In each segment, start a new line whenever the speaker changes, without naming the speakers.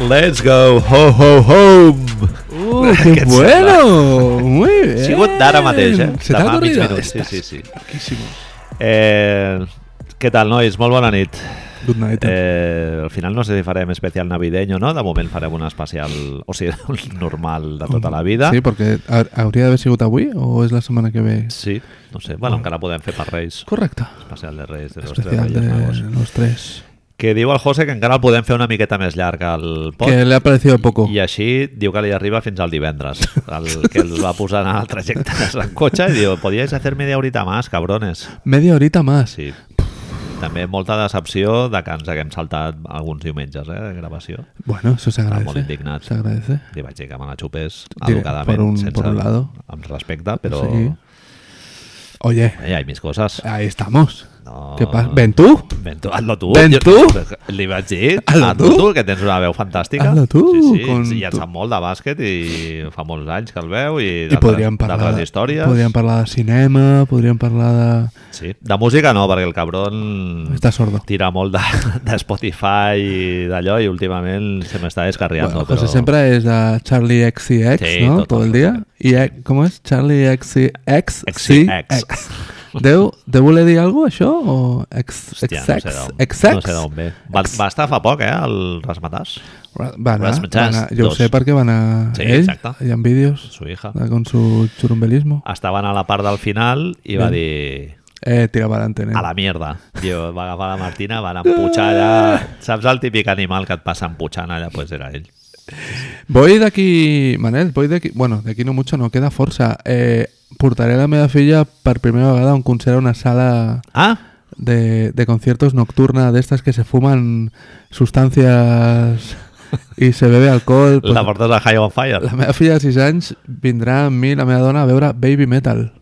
Let's go, ho, ho, home.
Uh, que bueno! Muy bé!
Ha sigut d'ara mateix, eh?
Se t'ha
Demà, mig
avorrit?
minut, sí, sí, sí. Eh, què tal, nois? Molt bona nit.
Good night. Eh.
Eh, al final no sé si farem especial navideño, no? De moment farem un especial, o sigui, un normal de tota la vida.
Sí, perquè ha- hauria d'haver sigut avui o és la setmana que ve?
Sí, no sé. Bueno, encara podem fer per Reis.
Correcte.
Especial de Reis, de los tres
Especial
Reyes Magos.
de los tres.
Que diu el José que encara el podem fer una miqueta més llarg al pot.
Que le ha parecido poco.
I així diu que li arriba fins al divendres, el que els va posar en el trajecte en cotxe i diu, podíais hacer media horita más, cabrones.
Media horita más.
Sí. També molta decepció de que ens haguem saltat alguns diumenges, eh, de gravació.
Bueno, eso se agradece.
molt indignat.
Se agradece.
Li vaig dir que me la xupés
Diré,
educadament,
por un-
sense,
por un lado.
amb respecte, però... Sí.
Sí. Oye,
Eh, hi ha mis coses.
ahí estamos.
No.
¿Qué pasa? ¿Ven tú?
Ben tu, hazlo tu.
Ben
Jo-
tu?
Li vaig dir,
Hazlo
hazlo tu,
tu,
que tens una veu fantàstica.
Hazlo tu,
Sí, sí,
con
sí, ja en
tu-
sap molt de bàsquet i fa molts anys que el veu i,
I podríem parlar,
d'altres històries.
podríem parlar de cinema, podríem parlar
Sí, de música no, perquè el
de...
cabron
Està sordo.
tira molt de, de Spotify i d'allò i últimament se m'està descarriando.
Bueno, José siempre es a Charlie XCX,
Sí,
¿no?
total,
Todo el día. ¿Y eh, cómo es? Charlie XCX.
XCX.
¿Deu, ¿Deu voler dir algo, això? O ex,
Hòstia,
XX?
no sé d'on no sé d'on ve. Va,
Ex-
va estar fa poc, eh, el Rasmatàs,
Ra- Va anar,
Rasmus
va anar,
Tast,
jo ho
dos.
sé perquè va anar
Sí,
ell,
exacte.
hi ha vídeos
su hija.
de- con su churumbelismo.
Estaven a la part del final i va dir...
Eh, tira per l'antena.
a la mierda. Tio, va agafar la Martina, van emputxar allà... Saps el típic animal que et passa emputxant allà? Doncs pues era ell.
Voy de aquí, Manel, voy de aquí... Bueno, de aquí no mucho, no queda força. Eh, portaré la meva filla per primera vegada a un concert a una sala
Ah,
de, de conciertos nocturna de estas que se fuman sustancias y se bebe alcohol. pues,
la portes a High on Fire.
la meva filla de 6 anys vindrà amb mi, la meva dona, a veure Baby Metal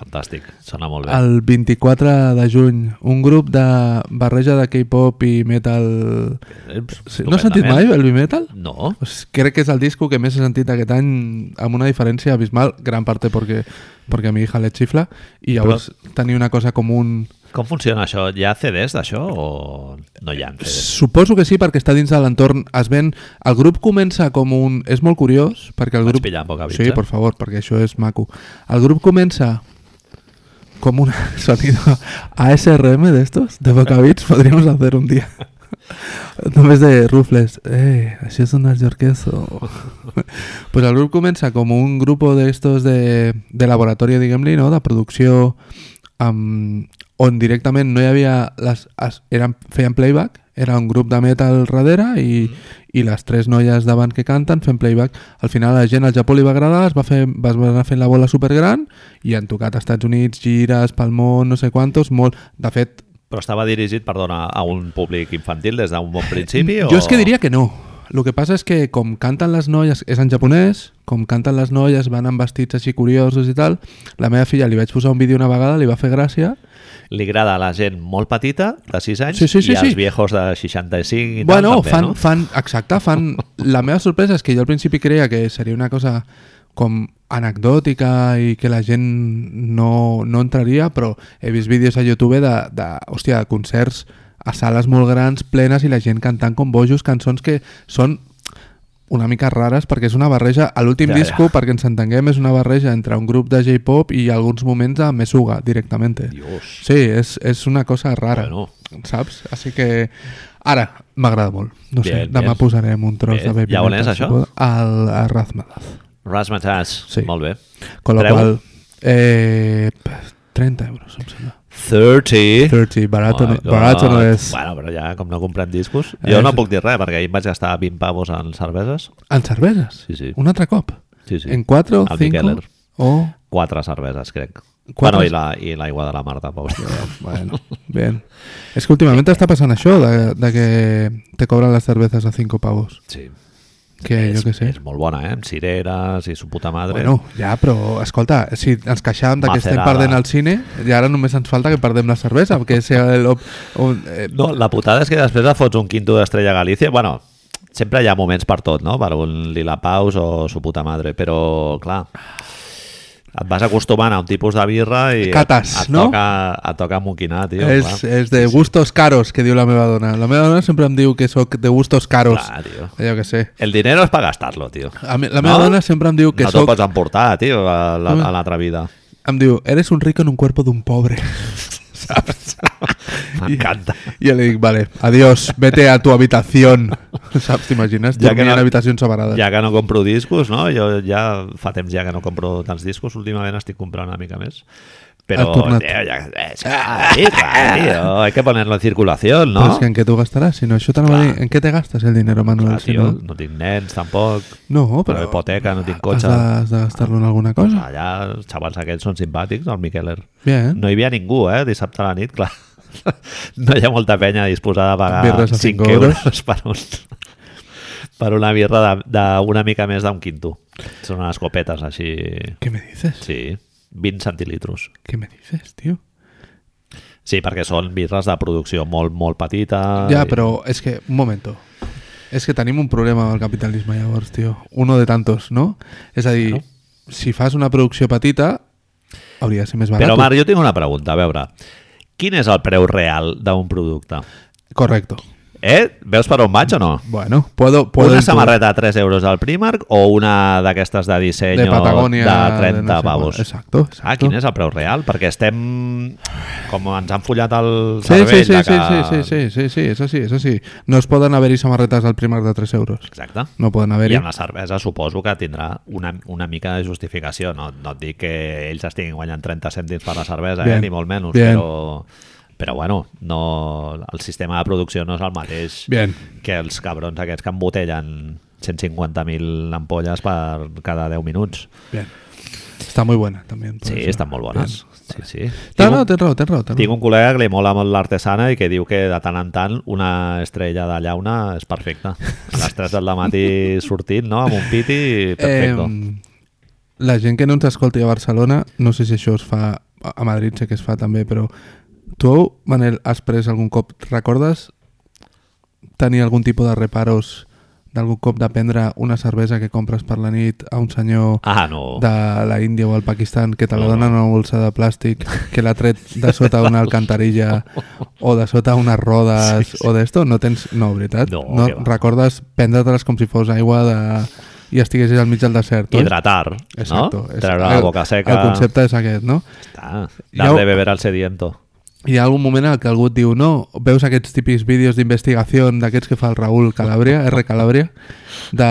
Fantàstic, sona molt bé.
el 24 de juny. Un grup de barreja de K-pop i metal...
Eh,
Sí, No has sentit mai
estupendament.
Baby Metal?
No.
Pues crec que és el disco que més he sentit aquest any amb una diferència abismal, gran parte porque, porque a mi hija le chifla i llavors tenir una cosa com un...
Com funciona això? Hi ha CDs d'això o no hi ha CDs?
Suposo que sí, perquè està dins de l'entorn. Es ven... El grup comença com un... És molt curiós, perquè el
Vaig
grup...
pillar amb poca
Sí,
vitxa.
per favor, perquè això és maco. El grup comença com un sonido ASRM d'estos, de bocabits, podríamos hacer un dia. Només de rufles. Eh, això és un arjorqueso. pues el grup comença com un grup d'estos de, de laboratori, diguem-li, no? de producció amb, on directament no hi havia... Les, es, eren, feien playback, era un grup de metal darrere i, mm. i les tres noies davant que canten fent playback. Al final a la gent al Japó li va agradar, es va, fer, va, va anar fent la bola supergran i han tocat a Estats Units, gires, pel món, no sé quantos, molt... De fet,
Però estava dirigit, perdona, a un públic infantil des d'un bon principi?
Yo
o...
es que diría que no. Lo que pasa es que com canten les noies, és en japonès, com canten les noies, van amb vestits així curiosos i tal, la meva filla li vaig posar un vídeo una vegada, li va fer gràcia.
Li agrada a la gent molt petita, de 6 anys,
Sí, sí, sí,
i als
sí.
viejos de 65 i
bueno,
tal, també,
fan,
no?
fan, exacte, fan... La meva sorpresa és que jo al principi creia que seria una cosa com anecdòtica i que la gent no, no entraria, però he vist vídeos a YouTube de, de, hòstia, de concerts a sales molt grans, plenes, i la gent cantant com bojos cançons que són una mica rares perquè és una barreja a l'últim
Ja,
ja,
ja.
disco, perquè ens entenguem, és una barreja entre un grup de J-pop i alguns moments de Mesuga, directament.
Dios.
Sí, és, és una cosa rara
Bueno,
saps? Així que ara m'agrada molt. No sé,
Bien,
demà
bien.
posarem un
Bé.
tros de Baby
I a on
Metal,
és, això?
si pot, Al, a Razmadaz.
Razzmatazz,
Sí.
molt bé.
Con lo
Preu?
qual, eh, 30 euros, em sembla.
30.
30, barato,
Eh? My
no,
God.
barato no és.
Bueno, però ja, com no comprem discos...
Eh,
Jo no
sí.
puc dir res, perquè ahir em vaig gastar 20 pavos en cerveses.
En cerveses?
Sí, sí.
Un altre cop?
Sí, sí.
En 4,
Al
5
Miqueler.
o...
Quatre cerveses, crec.
Quatre?
Bueno, i la- i l'aigua de la Marta, pobre.
Bueno, bien. És que últimament està passant això de, de que te cobran les cerveses a 5 pavos.
Sí.
Que jo
és,
que sé.
és molt bona, eh? Amb cireres i su puta madre.
Bueno, ja, però escolta, si ens queixàvem de que estem
Macerada.
perdent el cine i ara només ens falta que perdem la cervesa, perquè si el, op- on, eh,
No, la putada és que després et fots un quinto d'Estrella Galícia. Bueno, sempre hi ha moments per tot, no? Per un Lila Paus o su puta madre, però, clar... Et vas acostumant a un tipus de birra i
Cates,
et,
no?
toca, et toca moquinar, tio.
és,
clar.
és de gustos caros, que diu la meva dona. La meva dona sempre em diu que sóc de gustos caros.
Clar, tio.
Jo que sé.
El dinero és per gastar-lo, tio.
A mi, la meva
No?
dona sempre em diu que
no te'l
sóc...
pots emportar, tio, a la-
Mm.
a l'altra vida.
Em diu, eres un rico en un cuerpo d'un pobre. Saps?
M'encanta.
I jo li dic, vale, adiós, vete a tu habitación. Saps, t'imagines?
Ja
Ja
que
Dormir
no-
en habitacions separades.
Ja que no compro discos, no? Jo ja fa temps ja que no compro tants discos, últimament estic comprant una mica més. Però,
Has tornat.
tio, ja... És, sí, clar, tio, hay que ponerlo en circulación,
Però
no?
és que en què tu gastaràs? Si no, això t'anava a
Clar.
dir, en què te gastes el dinero, Manuel?
Clar,
si
tio,
no?
no tinc nens, tampoc.
no,
Però
però...
hipoteca, no tinc
Has
cotxe.
de, has de gastar-lo en alguna
Pues
cosa.
allà els xavals aquests són simpàtics, el Miqueler.
Bien.
No hi havia ningú, eh, dissabte a la nit, clar. No hi ha molta penya disposada a pagar
Birres
5,
a cinc
euros,
euros.
per, un, per una birra de- d'una mica més d'un quinto. Són unes copetes així...
¿Qué me dices?
Sí, 20 centilitros.
¿Qué me dices, tío?
Sí, perquè són birres de producció molt, molt petita.
Ja,
i-
però és que, un momento. És que tenim un problema amb el capitalisme llavors, tio. Uno de tantos, no? És a dir,
Claro.
si fas una producció petita, hauria de ser més barat.
Però, Marc, jo tinc una pregunta, a veure. Quin és el preu real d'un producte?
Correcto.
Eh? Veus per on vaig o no?
Bueno, puedo... puedo
Una
intuir.
samarreta de 3 euros al Primark o una d'aquestes de disseny
de Patagonia
de 30
de no sé
pavos?
quant. Exacto, exacto.
Ah, quin és el preu real? Perquè estem... Com ens han follat el
Sí,
cervell
sí, sí,
de
sí,
que...
sí, sí, sí, sí, sí, eso sí, eso sí. No es poden haver-hi samarretes al Primark de 3 euros.
Exacte.
No poden
I
haver-hi.
amb la cervesa suposo que tindrà una, una mica de justificació. No, no et dic que ells estiguin guanyant 30 cèntims per la cervesa, eh?
Bien.
ni molt menys,
Bien.
però... Però bueno, no, el sistema de producció no és el mateix
Bien.
que els cabrons aquests que embotellen 150.000 ampolles per cada 10 minuts.
Bien. Está muy buena también. por
Sí,
eso.
estan molt bones. Sí, sí.
No,
Tinc,
no,
un,
tens raó, tens raó. Tens
tinc
raó.
un col·lega que li mola molt l'artesana i que diu que de tant en tant una estrella de llauna és perfecta. A les 3 del matí sortint, no?, amb un piti, perfecto.
Em, la gent que no ens escolti a Barcelona, no sé si això es fa... A a Madrid sé que es fa també, però tu, Manel, has pres algun cop... Recordes tenir algun tipus de reparos d'algun cop de prendre una cervesa que compres per la nit a un senyor
ah, no.
de la Índia o el Pakistan que te la
No,
donen en una bolsa de plàstic que l'ha tret de sota una alcantarilla o de sota unes rodes sí, sí. o d'esto, no tens... No, veritat?
No,
no
que va.
recordes prendre-te-les com si fos aigua de... i estiguessis al mig del desert, oi?
Hidratar,
Exacto.
no?
és-
Treure la
el-
boca seca.
El concepte és aquest, no?
Està.
Ja
Dar de
ho-
beber al sediento.
Hi ha algun moment en què algú et diu no, veus aquests típics vídeos d'investigació d'aquests que fa el Raül Calabria, R. Calabria, de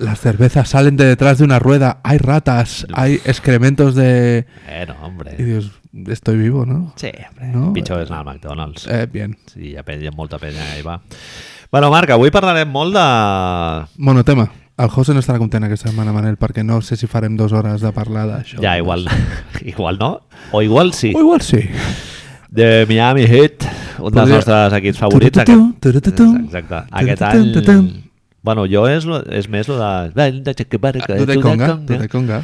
les cervezas salen de detrás de una rueda, hay ratas, hay excrementos de...
Eh, no, hombre.
Y dios, estoy vivo, ¿no?
Sí, hombre.
No,
Pitjor és anar al McDonald's.
Eh, bien.
Sí, hi ha, penya, hi ha molta penya que hi va. Bueno, Marc, avui parlarem molt de...
Monotema. El José no estarà content aquesta setmana, Manel, perquè no sé si farem dues hores de parlar d'això.
Ja, igual, igual no, o igual sí.
O igual sí.
de Miami Heat, un dels
Podria-
nostres equips favorits.
Turututum,
Aquest...
turututum.
Exacte. Aquest
Turututum.
any... Bueno, jo és, lo, és més lo de... de Chacabarca,
Tú de
tu
Ah, conga, tú de conga.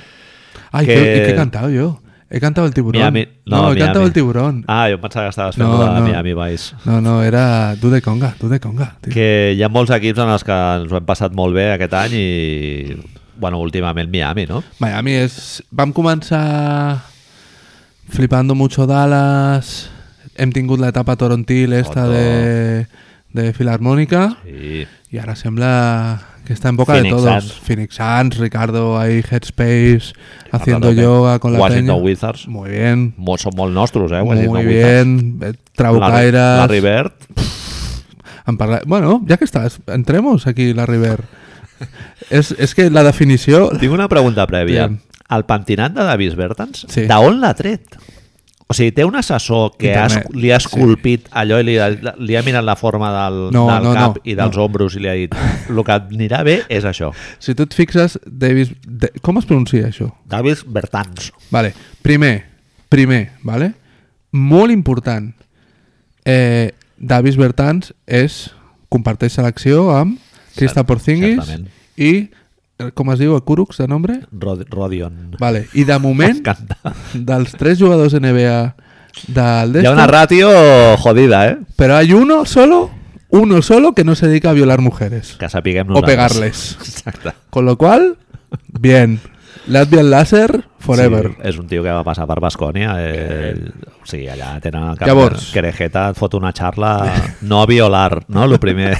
Ay,
Que-
¿qué, ¿y qué he cantado yo? He cantado el tiburón.
Miami...
No, he
Miami.
cantado el tiburón.
Ah, jo em pensava que estaves fent
No,
no, de
no.
Miami Vice.
No, no, era tú de conga, tú de conga. tío.
Que hi ha molts equips en els que ens ho hem passat molt bé aquest any i... Bueno, últimament Miami, no?
Miami es... Vam començar flipando mucho Dallas. Hem tingut l'etapa torontil esta
Otto.
de, de Filarmònica.
Sí.
Y ahora sembla que está en boca
Phoenix
de todos.
Suns.
Phoenix Suns, Ricardo ahí, Headspace, haciendo
tope.
yoga con la
Washington
peña.
Wizards.
Muy bien.
Molt, són molt nostres, eh?
muy
Washington Wizards.
bien. Eh,
Larry,
Trabucairas.
Larry Bird.
en parla- Bueno, ya que estás, entremos aquí, la River. es, es que la definición...
Tinc una pregunta prèvia.
Digue'm.
El pentinat de Davis Bertans, sí.
Sí.
d'on l'ha tret? O sigui, té un assessor que has,
Internet,
li ha
sí.
esculpit sí. allò i li, ha- li ha mirat la forma del,
No,
del
no,
cap
no,
i dels
no.
ombros i li ha dit el que et anirà bé és això.
Si tú te fixas, Davis... de- ¿Cómo es pronuncia eso?
Davis Bertans.
Vale, primer, primer, vale? Molt important. Eh, Davis Bertans és, comparteix selecció amb Krista
Cert-
Porzingis
certament.
i, eh, com es diu, a Kuruks de nombre?
Rod Rodion.
Vale, i de moment,
M'encanta.
dels tres jugadors NBA
Hi
del
ha
Desta,
una ratio jodida, eh?
però hi ha uno solo, uno solo que no se dedica a violar mujeres
Que sapiguem
o
nosaltres.
pegarles.
Exacte.
Con lo cual, bien. Latvian Laser Forever.
Sí, és un tio que va passar per Bascònia. Eh, o sigui, allà tenen... cap-
Llavors.
Querejeta et fot una xarla no violar, no? Lo primer.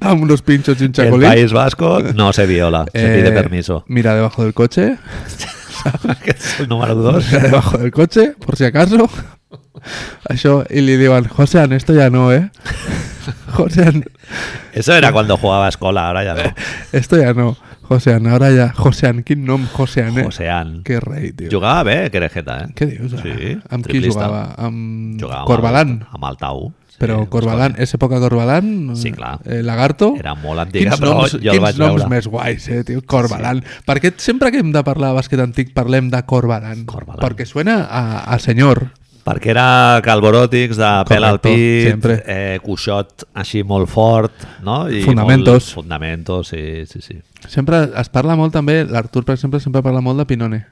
Amb unos pinchos y
El
un chacolín. Eh.
País Vasco no se viola, se pide permiso.
Mira debajo del coche.
Que és el número dos.
Mira debajo del coche, por si acaso. Això, i li diuen, Josean, esto ya no, eh? Josean,
Eso era cuando jugaba a escola, ahora ya no.
esto ya no. Josean, ahora ya. Josean, quin nom Josean, eh?
Josean.
Que rei, tio.
Jugava bé, Querejeta, eh?
Què dius? ara?
Sí,
Amb qui
triplista.
jugava? Ah, Amb
Jugava amb
Corbalán.
el- Amb el Tau. Sí,
Però
Bascònia.
Corbalán, és època Corbalán?
Sí, clar.
Eh, Lagarto?
Era molt antiga,
Quins
però
noms,
jo el
quins
vaig
noms
veure.
més guais, eh, tio? Corbalán. Perquè sempre que hem de parlar de bàsquet antic parlem de Corbalán.
Corbalán.
Perquè suena a, a senyor.
Perquè era calboròtics de pèl al
Correcto,
pit,
sempre.
eh, cuixot així molt fort, no? I Molt,
Fundamentos.
fundamentos, sí, sí, sí.
Sempre es parla molt també, l'Artur, per exemple, sempre parla molt de Pinone.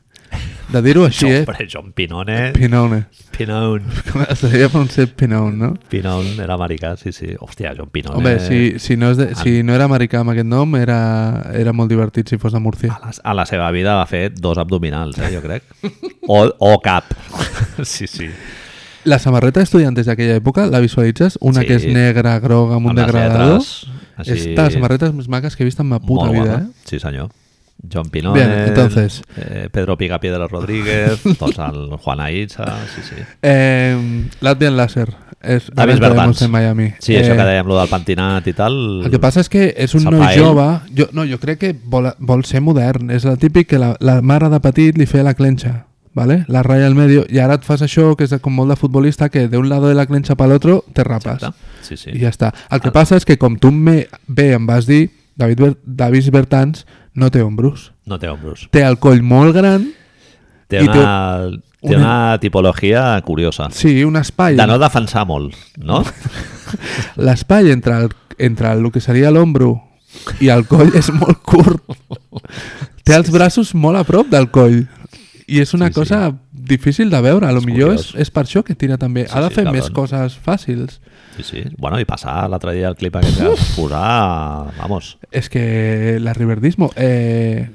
De dir-ho així, eh?
Hombre, John Pinone,
Pinone.
Pinone,
Com es deia pronunciar Pinone, no?
Pinone era americà, sí, sí. Hòstia, John Pinone.
Home, si, si, no, és de, si no era americà amb aquest nom, era, era molt divertit si fos de Múrcia.
A la, a la seva vida va fer dos abdominals, eh, jo crec. O, o cap. Sí, sí.
La samarreta d'estudiantes d'aquella època la visualitzes?
Sí.
Una sí. que és negra, groga, amb un
Amb les
degradador.
lletres, així-
És de les samarretes més maques que he vist en ma puta
Molt
vida,
guapa.
eh?
Sí, senyor. John Pinone,
Bien, entonces.
eh, Pedro Pica Piedra Rodríguez, tots el Juan Aitza, sí, sí.
Eh, Latvian Laser. És,
David
ara entraremos
Bertans.
en Miami.
Ah, Sí, això que dèiem, lo del pentinat i tal...
Eh, El que passa és que és un
Safael.
noi jove... Jo, no, jo crec que vol, vol ser modern. És el típic que la, la mare de petit li feia la clenxa. ¿Vale? La ratlla al medio i ara et fas això que és com molt de futbolista que de un lado de la clenxa per l'altre te rapes
Sí, sí. Ah.
i ja està. El que passa és que com tu me, bé em vas dir David, Ber Davis Bertans no té ombros
No té ombros.
té el coll molt gran,
Té
I té-
una, té
una-
una tipologia curiosa.
sí, un espai,
De no defensar molt, no?
l'espai entre, el, entre el que seria l'ombro i el coll és molt curt. Té els braços molt a prop del coll. I és una
Sí,
sí,
sí.
cosa sí. difícil de veure, a lo
És
millor és,
curiós.
és per això que tira també.
Sí,
Sí, ha de
sí,
fer
cabrón.
més coses fàcils.
Sí, sí. Bueno, i passar l'altre dia el clip aquest que vas posar... Vamos.
És que la Riverdismo... Eh,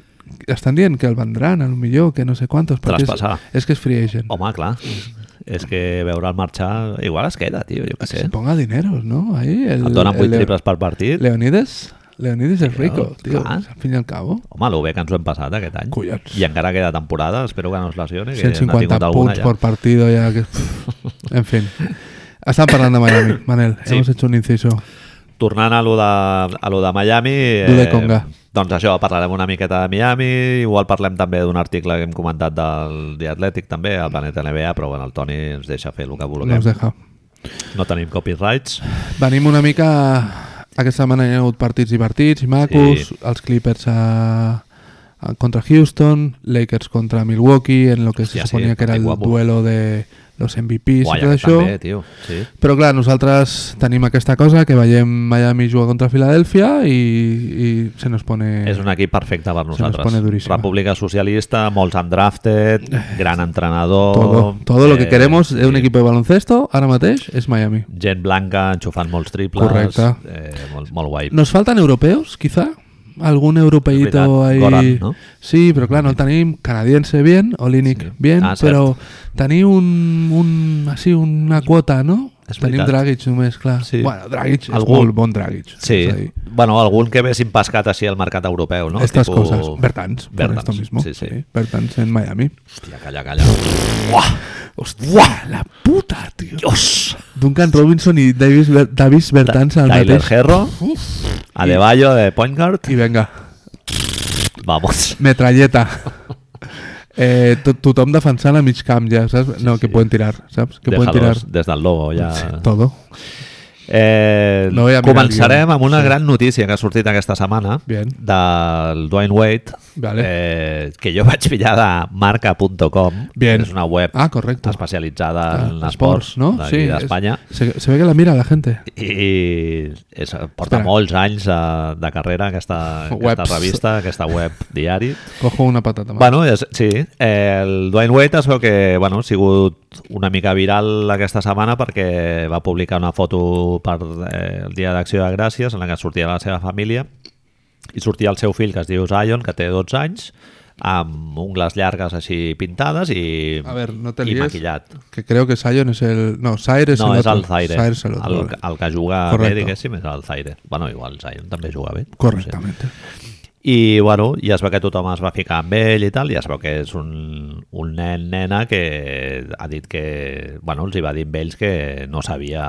estan dient que el vendran, a lo millor, que no sé quantos. perquè és,
Traspassar.
és que és free agent.
Home, clar. És que veure el marxar... Igual es queda, tio, jo què sé.
Se ponga dineros, ¿no? Ahí el,
Et donen 8
el-
triples per partit.
Leonides, Leonides es rico, tío.
clar.
Al fin y al cabo.
Home, el bé que ens ho hem passat aquest any.
Collons.
I encara queda temporada, espero que no es lesioni. que n'ha
150
tingut alguna
puntos
ja.
por partido ya. Que... en fin. Están parlando de Miami, Manel.
Sí.
Hemos hecho un inciso.
Tornant a lo de, a lo de Miami... Eh,
Lo de Conga.
Doncs això, parlarem una miqueta de Miami, igual parlem també d'un article que hem comentat del The Athletic també, al Planeta NBA, però bueno, el Toni ens deixa fer el que
No
vulguem.
us deja.
No tenim copyrights.
Venim una mica... Aquesta setmana hi ha hagut partits divertits i macos.
Sí.
Els Clippers a... a- contra Houston, Lakers contra Milwaukee, en lo que
Hòstia,
se
sí,
suponía que era el
que guapo.
duelo de los MVPs
Guai,
i tot
aquest
això.
també, tio. Sí.
Però clar, nosaltres tenim aquesta cosa que veiem Miami jugar contra Filadèlfia i, i se nos pone...
És un equip perfecte per
Eh, nos
nosaltres.
pone durísima.
República Socialista, molts undrafted, gran entrenador...
Todo, todo lo
eh,
que queremos de un
sí.
equipo de baloncesto ara mateix és Miami.
Gent blanca enxufant molts triples.
Correcte.
Eh, molt, molt guai.
Nos faltan europeus, quizá? Algun
Veritat,
europeito ahí...
Goran, no?
Sí, però clar, no el tenim. Canadiense, bien. Olinic,
Sí.
bien.
Ah, cert.
però tenir un, un, així, una quota, no?
És
tenim
veritat.
Dragic només, clar.
Sí.
Bueno, Dragic és
Algú-
molt bon Dragic.
Sí,
És a dir,
bueno, algun que ve sin pescat així al mercat europeu, no?
Estas cosas. Bertans, por
Bertans,
esto mismo.
sí, sí.
Bertans en Miami.
Hòstia, calla, calla. Uah!
Hostia, la puta, tío.
Dios!
Duncan Robinson y Davis, Ber- Davis Bertans al
Tyler
mateix.
Herro,
Uf.
Adebayo de point guard.
I venga,
Vamos.
metralleta. Eh, to tothom defensant a mig camp ja, saps? No, que pueden tirar, saps? Que pueden tirar
Déjalos des del logo, ja.
todo.
Eh,
No voy a mirar el
començarem
guió.
amb una
Sí.
gran notícia que ha sortit aquesta setmana
Bien.
del Dwayne Wade
Vale.
eh, que jo vaig pillar de marca.com
Bien.
és una web
Ah, correcto.
especialitzada
Ah,
en esports,
esports, no?
d'aquí
Sí,
d'Espanya
Se, se ve que la mira la gente.
i és, eh, porta
Espera.
molts anys de, de carrera aquesta, aquesta
Webs.
revista, aquesta web diari.
Cojo una patata más.
Bueno, és, sí, eh, el Dwayne Wade es veu que bueno, ha sigut una mica viral aquesta setmana perquè va publicar una foto per eh, el Dia d'Acció de Gràcies en la que sortia la seva família i sortia el seu fill que es diu Zion, que té 12 anys, amb ungles llargues així pintades i,
A ver, no te
i
líes.
maquillat.
Que creo que Sion es el... No, Sire es
No,
el
és
otro.
el Zaire.
Sire es el otro.
el,
vale.
el que ah, juga
Correcte.
bé, diguéssim, és el Zaire. Bueno, igual Zion també juga bé. No sé.
Correctamente.
I, bueno, ja es veu que tothom es va ficar amb ell i tal, ja es veu que és un, un nen, nena, que ha dit que... Bueno, els hi va dir amb ells que no sabia...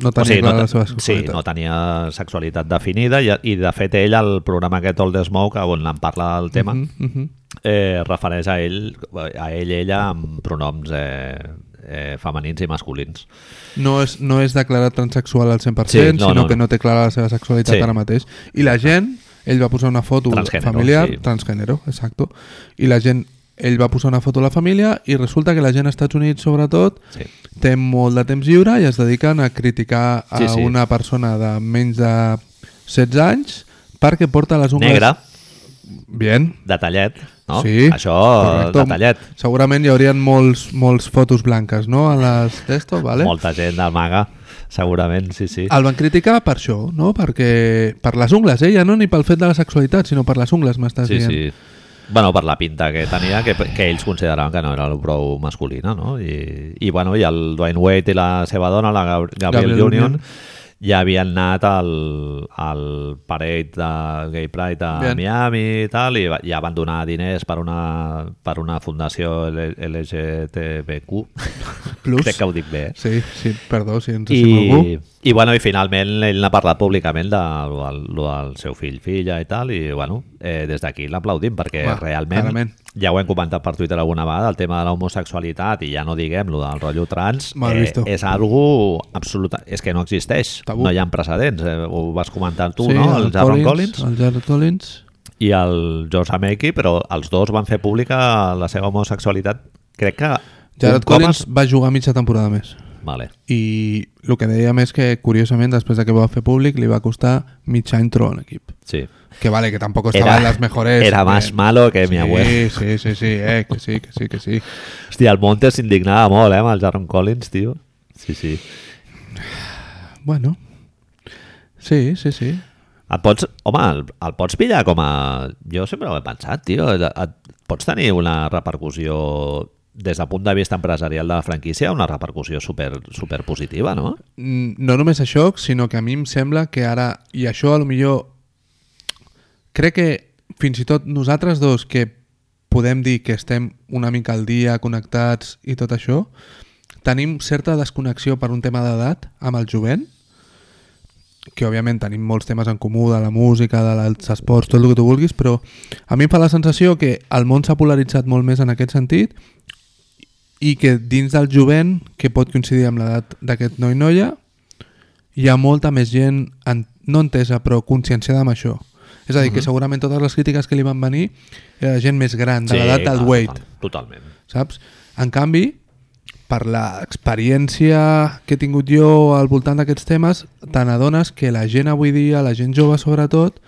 No tenia clara la seva
Sí,
sexualitat.
no tenia sexualitat definida i, i de fet, ell, al programa aquest All the Smoke, on en parla del tema,
Mm, mhm.
eh, refereix a ell, a ell, ella, amb pronoms eh, eh, femenins i masculins.
No és, no és declarat transexual al 100%,
Sí, no,
sinó
no,
que
no.
no té clara la seva sexualitat
Sí.
ara mateix. I la gent, ell va posar una foto
Transgénero,
familiar,
sí.
transgénero, exacto, i la gent, ell va posar una foto a la família i resulta que la gent als Estats Units, sobretot,
Sí.
té molt de temps lliure i es dediquen a criticar a
Sí, sí.
una persona de menys de 16 anys perquè porta les ungles...
Negre,
Bien.
detallet, no?
Sí,
Això,
correcto.
detallet.
Segurament hi haurien molts, molts fotos blanques, no?, a les d'esto, vale?
Molta gent del maga, segurament, sí, sí.
El van criticar per això, no? Perquè per les ungles, eh? Ja no ni pel fet de la sexualitat, sinó per les ungles, m'estàs
sí,
dient.
sí. Bueno, per la pinta que tenia, que, que ells consideraven que no era prou masculina, no? I, i, bueno, i el Dwayne Wade i la seva dona, la Gab Gabriel,
Gabriel
Union,
Union.
ja havien anat al, al parade de Gay Pride a
Bien.
Miami i tal, i va- ja van donar diners per una, per una fundació L- LGTBQ.
Plus.
Crec que ho dic bé, eh?
Sí, sí, perdó Doncs si ens I... algú.
I, i, bueno, i finalment ell n'ha parlat públicament de, lo del, lo del seu fill, filla i tal, i bueno, eh, des d'aquí l'aplaudim perquè
Home,
realment,
clarament.
ja ho hem comentat per Twitter alguna vegada, el tema de l'homosexualitat i ja no diguem lo del rotllo trans eh,
Mal visto.
és algo absolut, és que no existeix,
Tabú.
no hi ha precedents, eh, ho vas comentar tu,
sí,
no? El, Jaron Collins
El Jared Collins.
i el George Ameki, però els dos van fer pública la seva homosexualitat, crec que un
Jared
cop
Collins
es-
va jugar mitja temporada més.
Vale.
I el que dèiem és que, curiosament, després de que va fer públic, li va costar mig any trobar un equip.
Sí.
Que vale, que tampoco estaba en las mejores.
era más
eh.
malo que mi abuelo.
Sí, sí, sí, sí, eh, que sí, que sí, que sí.
Hòstia, el Montes s'indignava molt, eh, amb el Jaron Collins, tio. Sí, sí.
Bueno. Sí, sí, sí.
Et pots, home, el, el pots pillar com a... Jo sempre ho he pensat, tio. Et, et, pots tenir una repercussió des del punt de vista empresarial de la franquícia, una repercussió super, super positiva, no?
Mm, no només això, sinó que a mi em sembla que ara, i això a lo millor crec que fins i tot nosaltres dos que podem dir que estem una mica al dia, connectats i tot això, tenim certa desconnexió per un tema d'edat amb el jovent, que òbviament tenim molts temes en comú, de la música, dels esports, tot el que tu vulguis, però a mi em fa la sensació que el món s'ha polaritzat molt més en aquest sentit i que dins del jovent, que pot coincidir amb l'edat d'aquest noi-noia, hi ha molta més gent en, no entesa, però conscienciada amb això. És a dir, que segurament totes les crítiques que li van venir era de gent més gran, de l'edat del
clar,
Wade,
total- Totalment.
saps? En canvi, per l'experiència que he tingut jo al voltant d'aquests temes, te n'adones que la gent avui dia, la gent jove sobretot,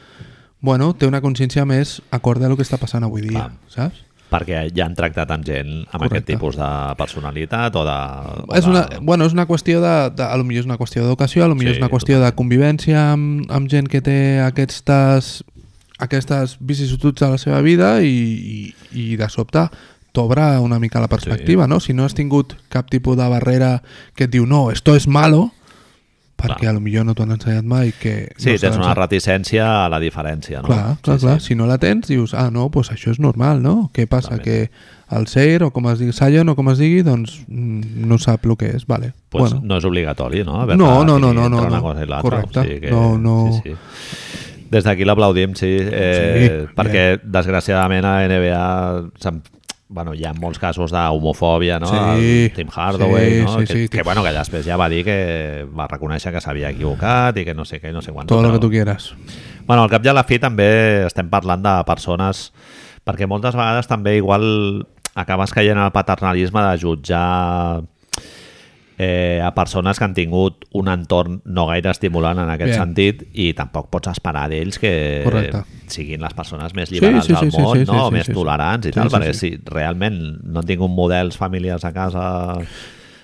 bueno, té una consciència més acorde a el que està passant avui dia,
Clar.
saps?
Perquè ja han tractat amb gent amb aquest
Correcte.
tipus de personalitat o de... o
És una,
de...
bueno, és una qüestió de, de... A lo millor és una qüestió d'educació, a lo millor
Sí,
és una qüestió de convivència amb, amb gent que té aquestes aquestes vicissituds a la seva vida i, i, i de sobte t'obre una mica la perspectiva, sí. no? Si no has tingut cap tipus de barrera que et diu no, esto es malo, perquè
Clar.
a lo millor no t'ho han ensenyat mai que
Sí,
no s'ha
tens una
d'ensenyar.
reticència a la diferència, no?
Clar, clar,
sí,
clar.
Sí.
Si no la tens, dius, ah, no, doncs això és normal, no? Què passa? Que el Seir, o com es digui, Sion, o com es digui, doncs mm, no sap el que és, vale.
Pues
bueno,
no és obligatori, no? Haver
No, no, no,
definit
no, no,
entre una
no.
cosa i l'altra,
Correcte.
O sigui que,
No, no.
Sí, sí. Des d'aquí l'aplaudim, sí, eh,
Sí,
perquè desgraciadament a NBA se'n- bueno, hi ha molts casos d'homofòbia, no?
Sí,
El Tim Hardaway,
sí,
no?
sí,
que,
sí.
que, bueno, que després ja va dir que va reconèixer que s'havia equivocat i que no sé què, i no sé quant.
todo lo que tu quieras.
Bueno, al cap i a la fi també estem parlant de persones perquè moltes vegades també igual acabes caient al paternalisme de jutjar eh, a persones que han tingut un entorn no gaire estimulant en aquest
Bien.
sentit i tampoc pots esperar d'ells que
Correcte.
siguin les persones més
Sí,
liberals
sí, sí,
del
sí,
món,
sí,
no?
sí, sí,
més
sí.
tolerants i
Sí,
tal,
sí,
perquè
sí.
si realment no han tingut models familiars a casa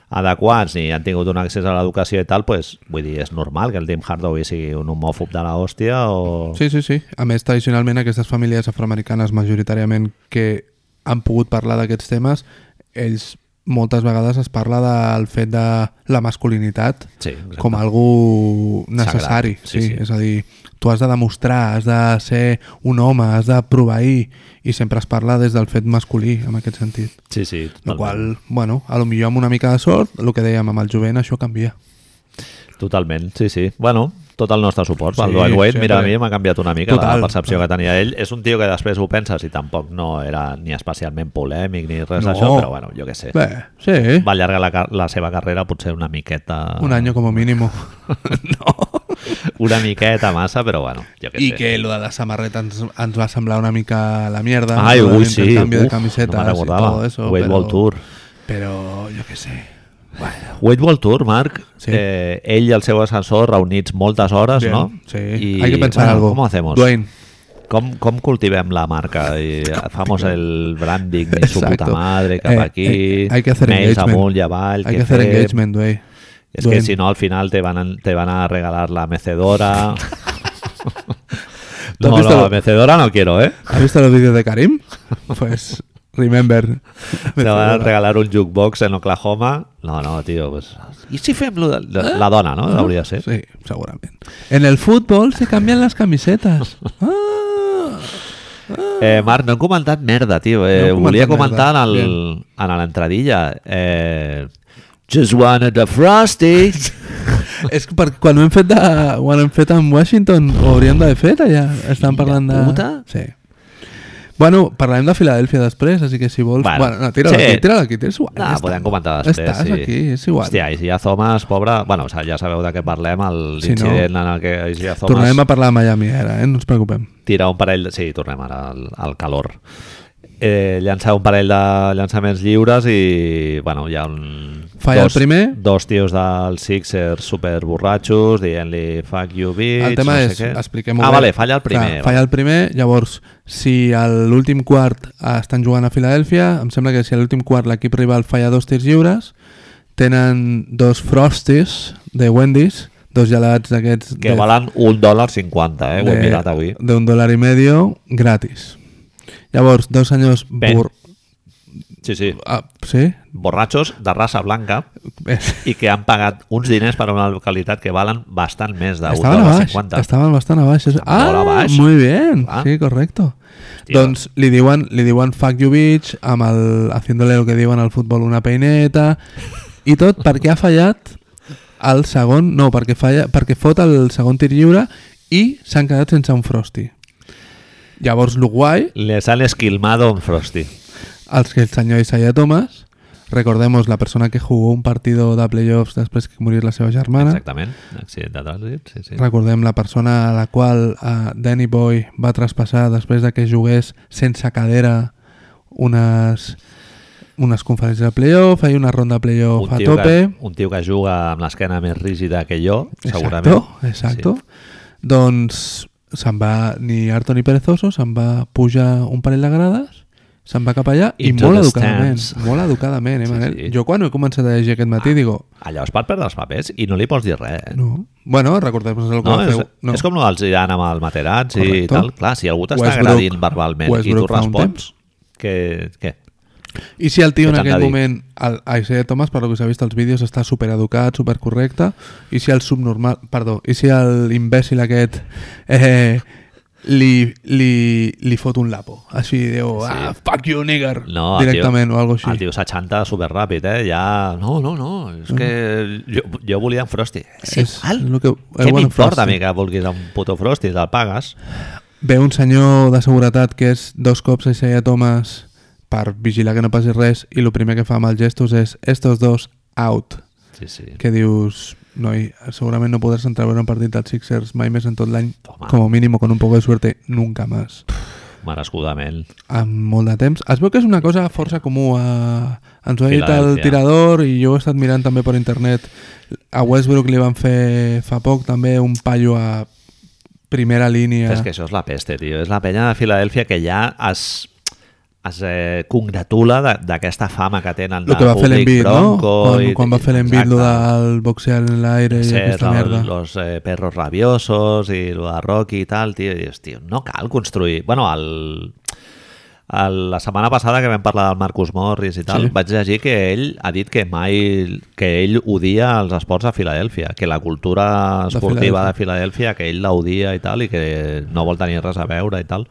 adequats ni han tingut un accés a l'educació i tal, pues, vull dir, és normal que el Tim Hardaway sigui un homòfob de la hòstia o...
Sí, sí, sí. A més, tradicionalment, aquestes famílies afroamericanes, majoritàriament, que han pogut parlar d'aquests temes, ells moltes vegades es parla del fet de la masculinitat
Sí, exacte.
com algú necessari.
Sagrat, sí, sí.
És a dir, tu has de demostrar, has de ser un home, has de proveir, i sempre es parla des del fet masculí, en aquest sentit.
Sí, sí.
La
totalment.
qual, bueno, a lo millor amb una mica de sort, el que dèiem amb el jovent, això canvia.
Totalment, sí, sí. Bueno, tot el nostre suport pel
Sí,
sí, Dwight Wade.
sí,
Mira, a
perquè-
mi m'ha canviat una mica
Total.
la percepció que tenia ell. És un tio que després ho penses i tampoc no era ni especialment polèmic ni res
No.
d'això, però bueno, jo què sé.
Bé, sí,
Va allargar la, car- la seva carrera potser una miqueta...
un any com a mínim. no.
Una miqueta massa, però bueno, jo què
I
sé.
que lo de la samarreta ens, ens va semblar una mica la mierda.
Ai,
lo del
ui, sí.
intercanvi de
Uf,
camisetas
no me
y
recordava.
todo eso.
Wade
pero-
World Tour.
Pero yo qué sé.
Wade World Tour, Marc,
Sí.
eh, ell i el seu assessor reunits moltes hores,
Bien,
no?
Sí. Hay que pensar
bueno,
algo.
¿Cómo hacemos?
Dwayne.
¿Cómo, ¿Cómo cultivem la marca? Y hacemos el branding y su
Exacto.
puta madre cap
Eh,
aquí.
eh, hay que hacer
mails
engagement.
amunt i avall,
Hay
què
que hacer
fem?
engagement, Dwayne.
Es
Dwayne.
que si no, al final te van a, te van a regalar la mecedora.
¿Tú has
no, no,
visto lo-
la mecedora no quiero, ¿eh?
¿Has visto los vídeos de Karim? Pues, remember.
Te van a regalar un jukebox en Oklahoma. No, no, tío. Pues... I si fem lo de- la, la dona, no? Hauria de ser.
Sí, seguramente. En el fútbol se cambian las camisetas. Ah.
Eh, Marc, no hem comentat merda, tio.
No
Eh,
hem
ho volia
comentat
comentar en
merda.
el- en l'entradilla. Eh, Just wanted a frosty.
És que per, quan ho hem fet, de, quan ho hem fet amb Washington ho hauríem d'haver fet allà. Estan
Filla
parlant de...
puta.
Sí. Bueno, parlarem de Filadèlfia després, així que si vols... Bueno,
Bueno,
bueno no, tira-la
sí.
aquí, tira-la aquí, tira igual.
No,
ja està.
podem comentar després.
Estàs
sí.
aquí, és igual.
Hòstia, Isias Thomas, pobre... Bueno, o sea, ja sabeu de què parlem,
Si no-
l'incident en el que Isias Thomas
Tornarem a parlar de Miami ara, eh? no ens preocupem.
tira un parell... De... Sí, tornem ara al, al calor. Eh, llançar un parell de llançaments lliures i, bueno, hi ha un...
Falla el primer.
Dos tios dels Sixers super borratxos dient-li fuck you bitch,
el tema
no
és,
sé què.
expliquem-ho
Ah,
bé.
vale, falla el primer.
Clar, falla el primer, llavors, si a l'últim quart estan jugant a Filadèlfia, em sembla que si a l'últim quart l'equip rival falla dos tirs lliures, tenen dos frosties de Wendy's, dos gelats d'aquests...
Que
de-
valen un dòlar cinquanta, eh? Ho he
de-
mirat avui.
De un dòlar i medio gratis. Llavors, dos senyors...
Bé.
Bur...
Sí, sí.
Ah, sí?
Borratxos de raça blanca
Bé.
i que han pagat uns diners per a una localitat que valen bastant més d'un
Estaven a
dòlar
baix,
50.
estaven bastant a baix. Eso-
molt
Ah,
a baix. Ah.
muy bien,
Clar.
sí, correcto. Doncs li diuen, li diuen fuck you bitch, amb el, haciéndole lo que diuen al futbol una peineta, i tot perquè ha fallat el segon, no, perquè, falla, perquè fot el segon tir lliure i s'han quedat sense un frosty. Llavors, lo guai,
Les han esquilmado un Frosty.
els que el senyor Isaiah Thomas, recordemos la persona que jugó un partido de playoffs després que morís la seva germana,
Exactament. Accident de trànsit, sí, sí.
Recordem la persona a la qual uh, Danny Boy va traspassar després de que jugués sense cadera unes, unes conferències de playoff, i una ronda de playoff a
tio
tope.
que, un tio que juga amb l'esquena més rígida que jo, segurament.
Exacto, exacto. Doncs se'n va ni harto ni perezoso, se'n va pujar un parell de grades, se'n va cap allà i
Into
molt
the
educadament,
stands.
molt educadament, eh,
Sí,
Manel?
sí.
Jo quan ho he començat a llegir aquest matí, digo,
Sí. Allà es pot perdre els papers i no li pots dir res. eh?
no. Bueno, recordem el que
No,
va
és,
fer...
no. és com el dels Iran amb el Materazzi i
Correcto.
tal. Clar, si algú t'està
Westbrook-
agradint verbalment
Westbrook
i tu
fa un
respons, que, què?
I si el tio
Què
en
t'han de
aquell
dir?
moment, el Isaiah Thomas, per lo que s'ha vist als vídeos, està supereducat, supercorrecte, i si el subnormal... Perdó, i si el imbècil aquest eh, li, li, li fot un lapo. Així diu,
Sí.
ah, fuck you, nigger,
No, el
directament,
tio,
o algo
El
així.
tio s'aixanta superràpid, eh? Ja, no, no, no, és que jo, jo volia un Frosty. És igual.
lo que,
Què
Mm. el bueno
m'importa a
Frosty.
mi que vulguis un puto Frosty? Te'l pagues?
Ve un senyor de seguretat que és dos cops Isaiah Thomas per vigilar que no passi res, i el primer que fa amb els gestos és estos dos out.
Sí, sí.
que dius, noi, segurament no podràs entreveure un partit dels Sixers mai més en tot l'any,
Toma.
com a mínim, o con un poco de suerte, nunca más.
Merescudament.
Amb molt de temps. Es veu que és una cosa força comú. A... Ens ho ha dit el
Filadèlfia.
tirador i jo ho he estat mirant també per internet. A Westbrook li van fer fa poc també un paio a primera línia.
És que això és la peste, tio. És la penya de Filadèlfia que ja es, es eh, congratula de- d'aquesta fama que tenen
Lo que va fer
públic
l'envit, no?
bronco
Quan,
i-
quan va fer l'envit lo
Exacte.
del boxear en l'aire i
Sí,
aquesta
el-
merda.
los eh, perros rabiosos i lo de Rocky i tal, tio, i dius, tio, no cal construir... Bueno, el, el, la setmana passada que vam parlar del Marcus Morris i tal,
Sí.
sí. vaig llegir que ell ha dit que mai... que ell odia els esports a Filadèlfia, que la cultura
De
esportiva de Filadèlfia, que ell la odia i tal, i que no vol tenir res a veure i tal.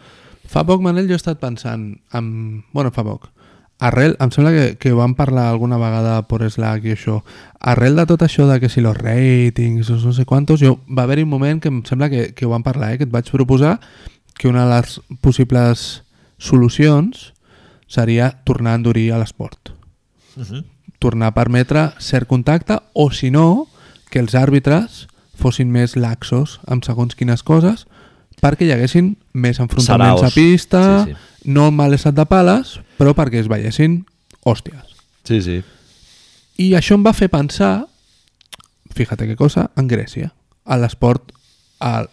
Fa poc, Manel, jo he estat pensant... En... Bueno, fa poc. Arrel, em sembla que, que ho vam parlar alguna vegada per Slack i això. Arrel de tot això de que si los ratings, els no sé quantos, jo va haver-hi un moment que em sembla que, que ho vam parlar, eh, que et vaig proposar que una de les possibles solucions seria tornar a endurir a l'esport.
Uh
Mhm.
-huh.
Tornar a permetre cert contacte o, si no, que els àrbitres fossin més laxos amb segons quines coses perquè hi haguessin més enfrontaments
Saraos.
a pista,
Sí, sí.
no mal estat de pales, però perquè es veiessin hòsties.
Sí, sí.
I això em va fer pensar, fíjate que cosa, en Grècia, a l'esport a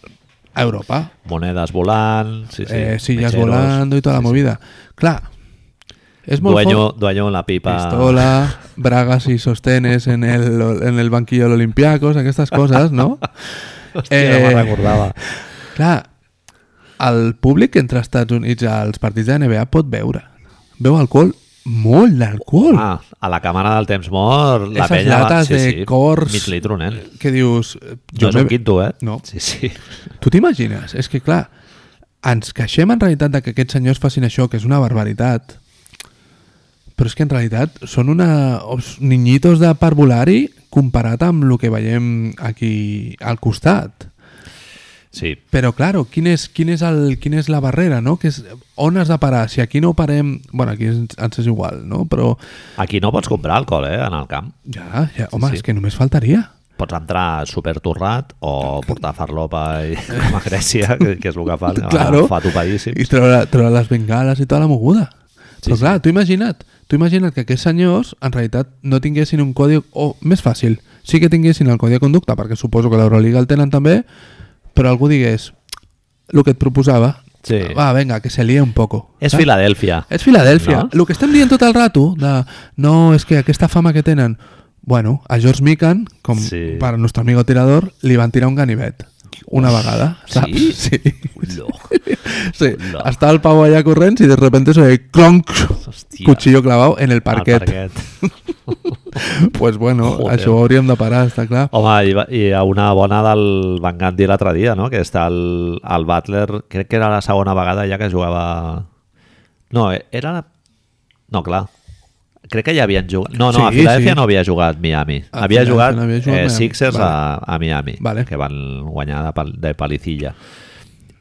a Europa,
Monedes volant... Sí,
sí,
sí.
sí, eh, sillas
mecheros.
volando i tota sí, la movida. Clar, és molt
Dueño,
fort.
dueño la pipa...
Pistola, bragas i sostenes en el, en el banquillo de l'Olimpiakos, aquestes coses, no?
Hòstia, eh... no me'n recordava.
Clar, el públic que entra als Estats Units als partits de NBA pot veure. Veu alcohol, molt d'alcohol.
Ah, a la càmera del temps mort, la
Esas
penya... va-
latas de cors.
Mig litro, nen.
Que dius... eh,
Jo no és
me-
un quinto, eh?
No.
Sí, sí.
Tu t'imagines? És que, clar, ens queixem en realitat de que aquests senyors facin això, que és una barbaritat, però és que en realitat són una... os- niñitos de parvulari comparat amb el que veiem aquí al costat.
Sí,
Però, claro, quin és, quin és, el, quin és la barrera, no? Que és, on has de parar? Si aquí no parem... bueno, aquí ens, ens és igual, no? Però
aquí no pots comprar alcohol, eh, en el camp.
ja, ja home,
sí.
sí. és que només faltaria.
Pots entrar supertorrat o portar farlopa i, com a Grècia, que, que és el que fan, que
claro,
fa topadíssim.
i treure, treure les bengales i tota la moguda.
Sí,
Sí, Però
sí.
clar, tu imagina't, tu imagina't que aquests senyors en realitat no tinguessin un codi, o més fàcil, sí que tinguessin el codi de conducta, perquè suposo que l'Euroliga el tenen també, però algú digués el que et proposava,
Sí.
va, venga, que se lia un poco.
És
saps?
Filadèlfia.
És Filadèlfia.
No?
El que estem dient tot el rato, de no, és que aquesta fama que tenen, bueno, a George Mikan, com
Sí.
sí. per al nostre amigo tirador, li van tirar un ganivet. Una vegada, saps?
Sí?
sí.
Ullo.
Sí,
Hola.
está el pavo allá corriendo y de repente se ve clonk,
Hòstia.
cuchillo clavado en el
Al
parquet.
parquet.
Pues bueno,
Joder.
això ho hauríem de parar, està clar.
Home, i, va- i a una bona del Van Gandhi l'altre dia, no? que està el, el Butler, crec que era la segona vegada ja que jugava... No, eh, era... la- No, clar. Crec que ja havien jugat... No, no, sí, a
Sí,
Filadèlfia
sí.
no havia jugat Miami.
A
havia
Filadèlfia
jugat,
no havia
havia
jugat
jugat eh,
Miami.
Sixers
Vale.
a, a Miami,
Vale.
que van guanyar de, pal- de palicilla.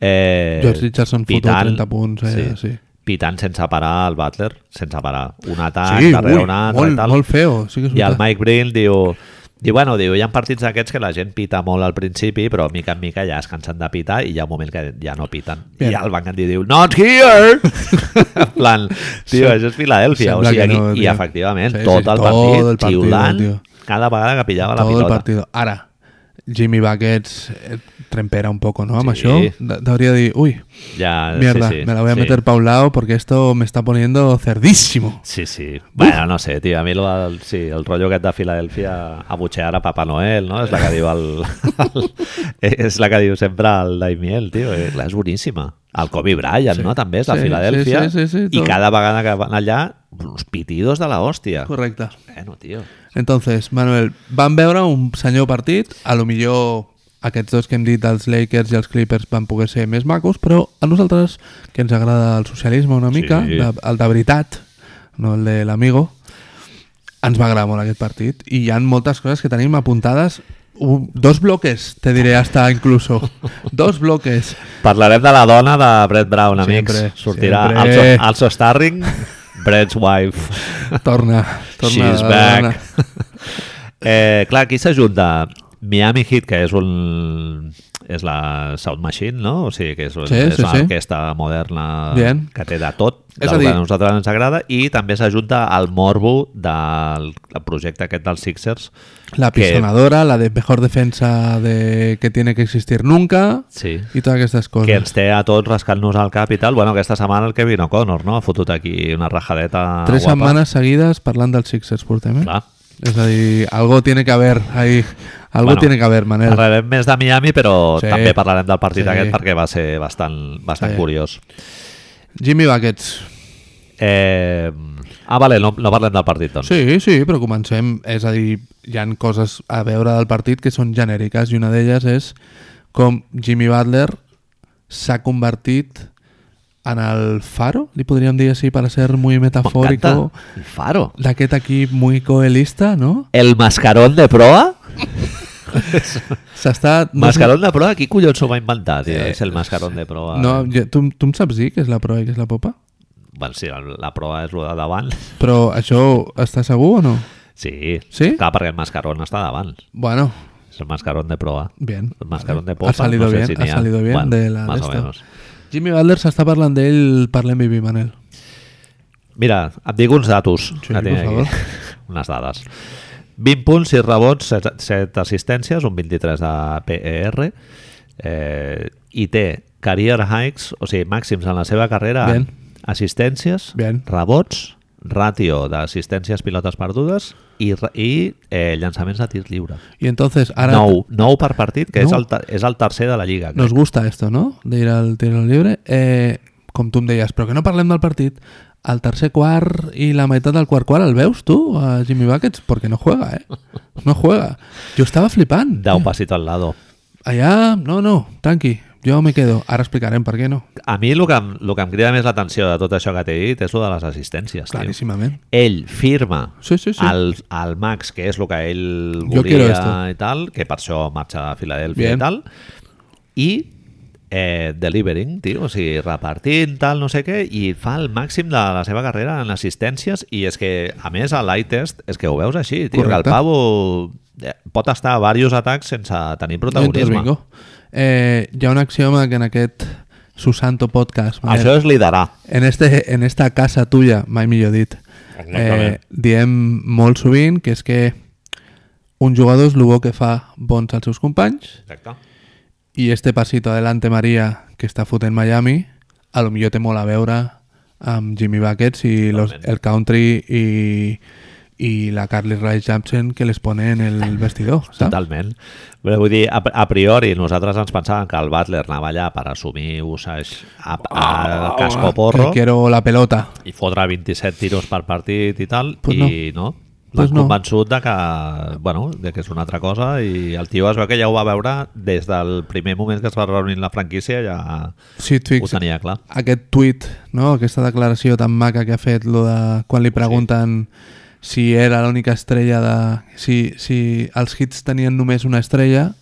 Eh,
George Richardson fotó 30 punts, eh, sí.
Pitant sense parar el Butler, sense parar. Un atac,
Sí,
darrere
ui,
un altre i
molt,
tal.
molt feo. Sí que
I
és
el
veritat.
Mike Brill diu... Diu, bueno, diu, hi ha partits d'aquests que la gent pita molt al principi, però mica en mica ja es cansen de pitar i hi ha un moment que ja no piten.
Bien.
I el Van Gandhi diu, not here! en plan, tio, això és Filadèlfia. O
Sembla
sigui,
que
aquí,
no,
I
tio.
efectivament,
Sí, sí,
tot, el
tot
partit,
el partit,
xiulant
tio.
cada vegada que pillava la
Todo el
pilota.
partido. Ara, Jimmy Buckets eh, trempera un poco, no? Amb
Sí.
això de- deuria dir, uy,
Ja,
mierda,
sí, sí,
me la voy a
sí.
meter pa' un lado porque esto me está poniendo cerdísimo.
Sí, sí. Bueno, no sé, tio, a mi lo del, sí, el rotllo aquest de Filadèlfia a butxear a Papa Noel, no? És la que diu el, el, és la que diu sempre el Daimiel, tio. Eh, clar, és boníssima. El Kobe Bryant, sí. no? També és de
Sí,
Filadèlfia.
sí, sí, sí, sí,
I
tot.
cada vegada que van allà, uns pitidos de la hòstia.
Correcte.
Bueno, tio.
Entonces, Manuel, van veure un senyor partit, a lo millor aquests dos que hem dit, els Lakers i els Clippers, van poder ser més macos, però a nosaltres, que ens agrada el socialisme una mica,
Sí.
de, el de veritat, no el de l'amigo, ens va agradar molt aquest partit i hi han moltes coses que tenim apuntades un, dos bloques, te diré hasta incluso dos bloques
Parlarem de la dona de Brett Brown, amics.
Sempre,
Sortirà
sempre.
Also, also starring Brett's wife.
torna, torna
She's
la
back.
dona.
Eh, clar, aquí s'ajunta Miami Heat, que és un és la Sound Machine, no? O sigui, que és,
Sí,
és
sí,
una
sí.
orquestra moderna
Bien.
que té de tot,
És
del
a dir-
que a nosaltres ens agrada, i també s'ajunta al morbo del del projecte aquest dels Sixers.
La
que-
pisonadora, la de mejor defensa de que tiene que existir nunca
Sí.
y todas estas cosas.
Que ens té a tots rascant-nos al cap i tal. Bueno, aquesta setmana el Kevin O'Connor, no? Ha fotut aquí una rajadeta
Tres
Ah, guapa.
semanas seguidas parlando del Sixers portem, eh?
Clar.
Es decir, algo tiene que haber ahí. Algo
Bueno,
tiene que haber, Manel.
Parlarem més de Miami, però
Sí.
també parlarem del partit
Sí.
aquest perquè va ser bastant, bastant
Sí.
curiós.
Jimmy Buckets.
Eh... Ah, vale, no, no parlem del partit, doncs.
Sí, sí, però comencem. És a dir, hi han coses a veure del partit que són genèriques i una d'elles és com Jimmy Butler s'ha convertit en el faro, li podríem dir així per ser muy metafórico,
M'encanta. El faro.
d'aquest equip muy coelista, no?
El mascarón de proa?
S'està... No, sé-
Mascarón de proa? Qui collons ho va inventar, tio? És el mascarón de proa.
no jo, tu, tu em saps dir que és la prova i que és la popa?
Bueno, sí, la proa és el de davant.
Però això està segur o no?
Sí.
Sí?
Clar, perquè el mascarón està davant.
Bueno,
És el mascarón de proa.
bien.
El mascarón de popa.
Ha salido
no sé
bien,
si n'hi
ha salido bien
Bueno,
de la
Más o
d'esta.
menos.
Jimmy Butler s'està parlant d'ell per l'MVP, Manel.
Mira, et dic uns datos.
Sí,
que tinc
per favor.
Unes dades. 20 punts, 6 rebots, 7, 7 assistències, un 23 de PER, eh, i té career hikes, o sigui, màxims en la seva carrera, en
Bien.
assistències,
Bien.
rebots, ràtio d'assistències pilotes perdudes i, ra- i eh, llançaments de tir lliure.
I entonces, ara...
9, 9 per partit, que és,
Nou.
el, ter- és el tercer de la Lliga. crec.
Nos gusta esto, no? De ir al tiro libre. Eh, com tu em deies, però que no parlem del partit, el tercer quart i la meitat del quart quart el veus tu, a Jimmy Buckets? Perquè no juega, eh? No juega. Jo estava flipant.
Da un pasito al lado.
Allà, no, no, tranqui, jo me quedo. Ara explicarem per què no.
A mi el que, em- el que em crida més l'atenció de tot això que t'he dit és el de les assistències. Tio.
Claríssimament.
ell firma
Sí, sí, sí.
El, el Max, que és el que ell
Jo quiero
volia
esto.
i tal, que per això marxa a Filadèlfia i
Bien.
tal, i eh, delivering, tio, o sigui, repartint, tal, no sé què, i fa el màxim de la seva carrera en assistències, i és que, a més, a l'eye test, és que ho veus així, tio, que
Correcte.
el pavo eh, pot estar a diversos atacs sense tenir protagonisme.
Bingo. Eh, hi ha un axioma que en aquest Susanto podcast... Manel,
Això és liderar.
En, este, en esta casa tuya, mai millor dit,
Exactament.
diem molt sovint que és que un jugador és el bo que fa bons als seus companys
Exacte.
i este pasito adelante Maria que està fotent Miami a lo millor té molt a veure amb Jimmy Buckets i los, el country i, i la Carly Rae Jepsen que les pone en el vestidor, saps?
Totalment. Però vull dir, a, a priori, nosaltres ens pensàvem que el Butler anava allà per assumir usage a, a casco porro
Ah, Que quiero la pelota.
i fotre 27 tiros per partit i tal,
Pues
i no. L'han
Pues no.
convençut de que, bueno, de que és una altra cosa i el tio es veu que ja ho va veure des del primer moment que es va reunir la franquícia ja
Si et
ho
fixes,
tenia clar.
aquest tuit, no? aquesta declaració tan maca que ha fet lo de, quan li pregunten si era l'única estrella de... Si, si els hits tenien només una estrella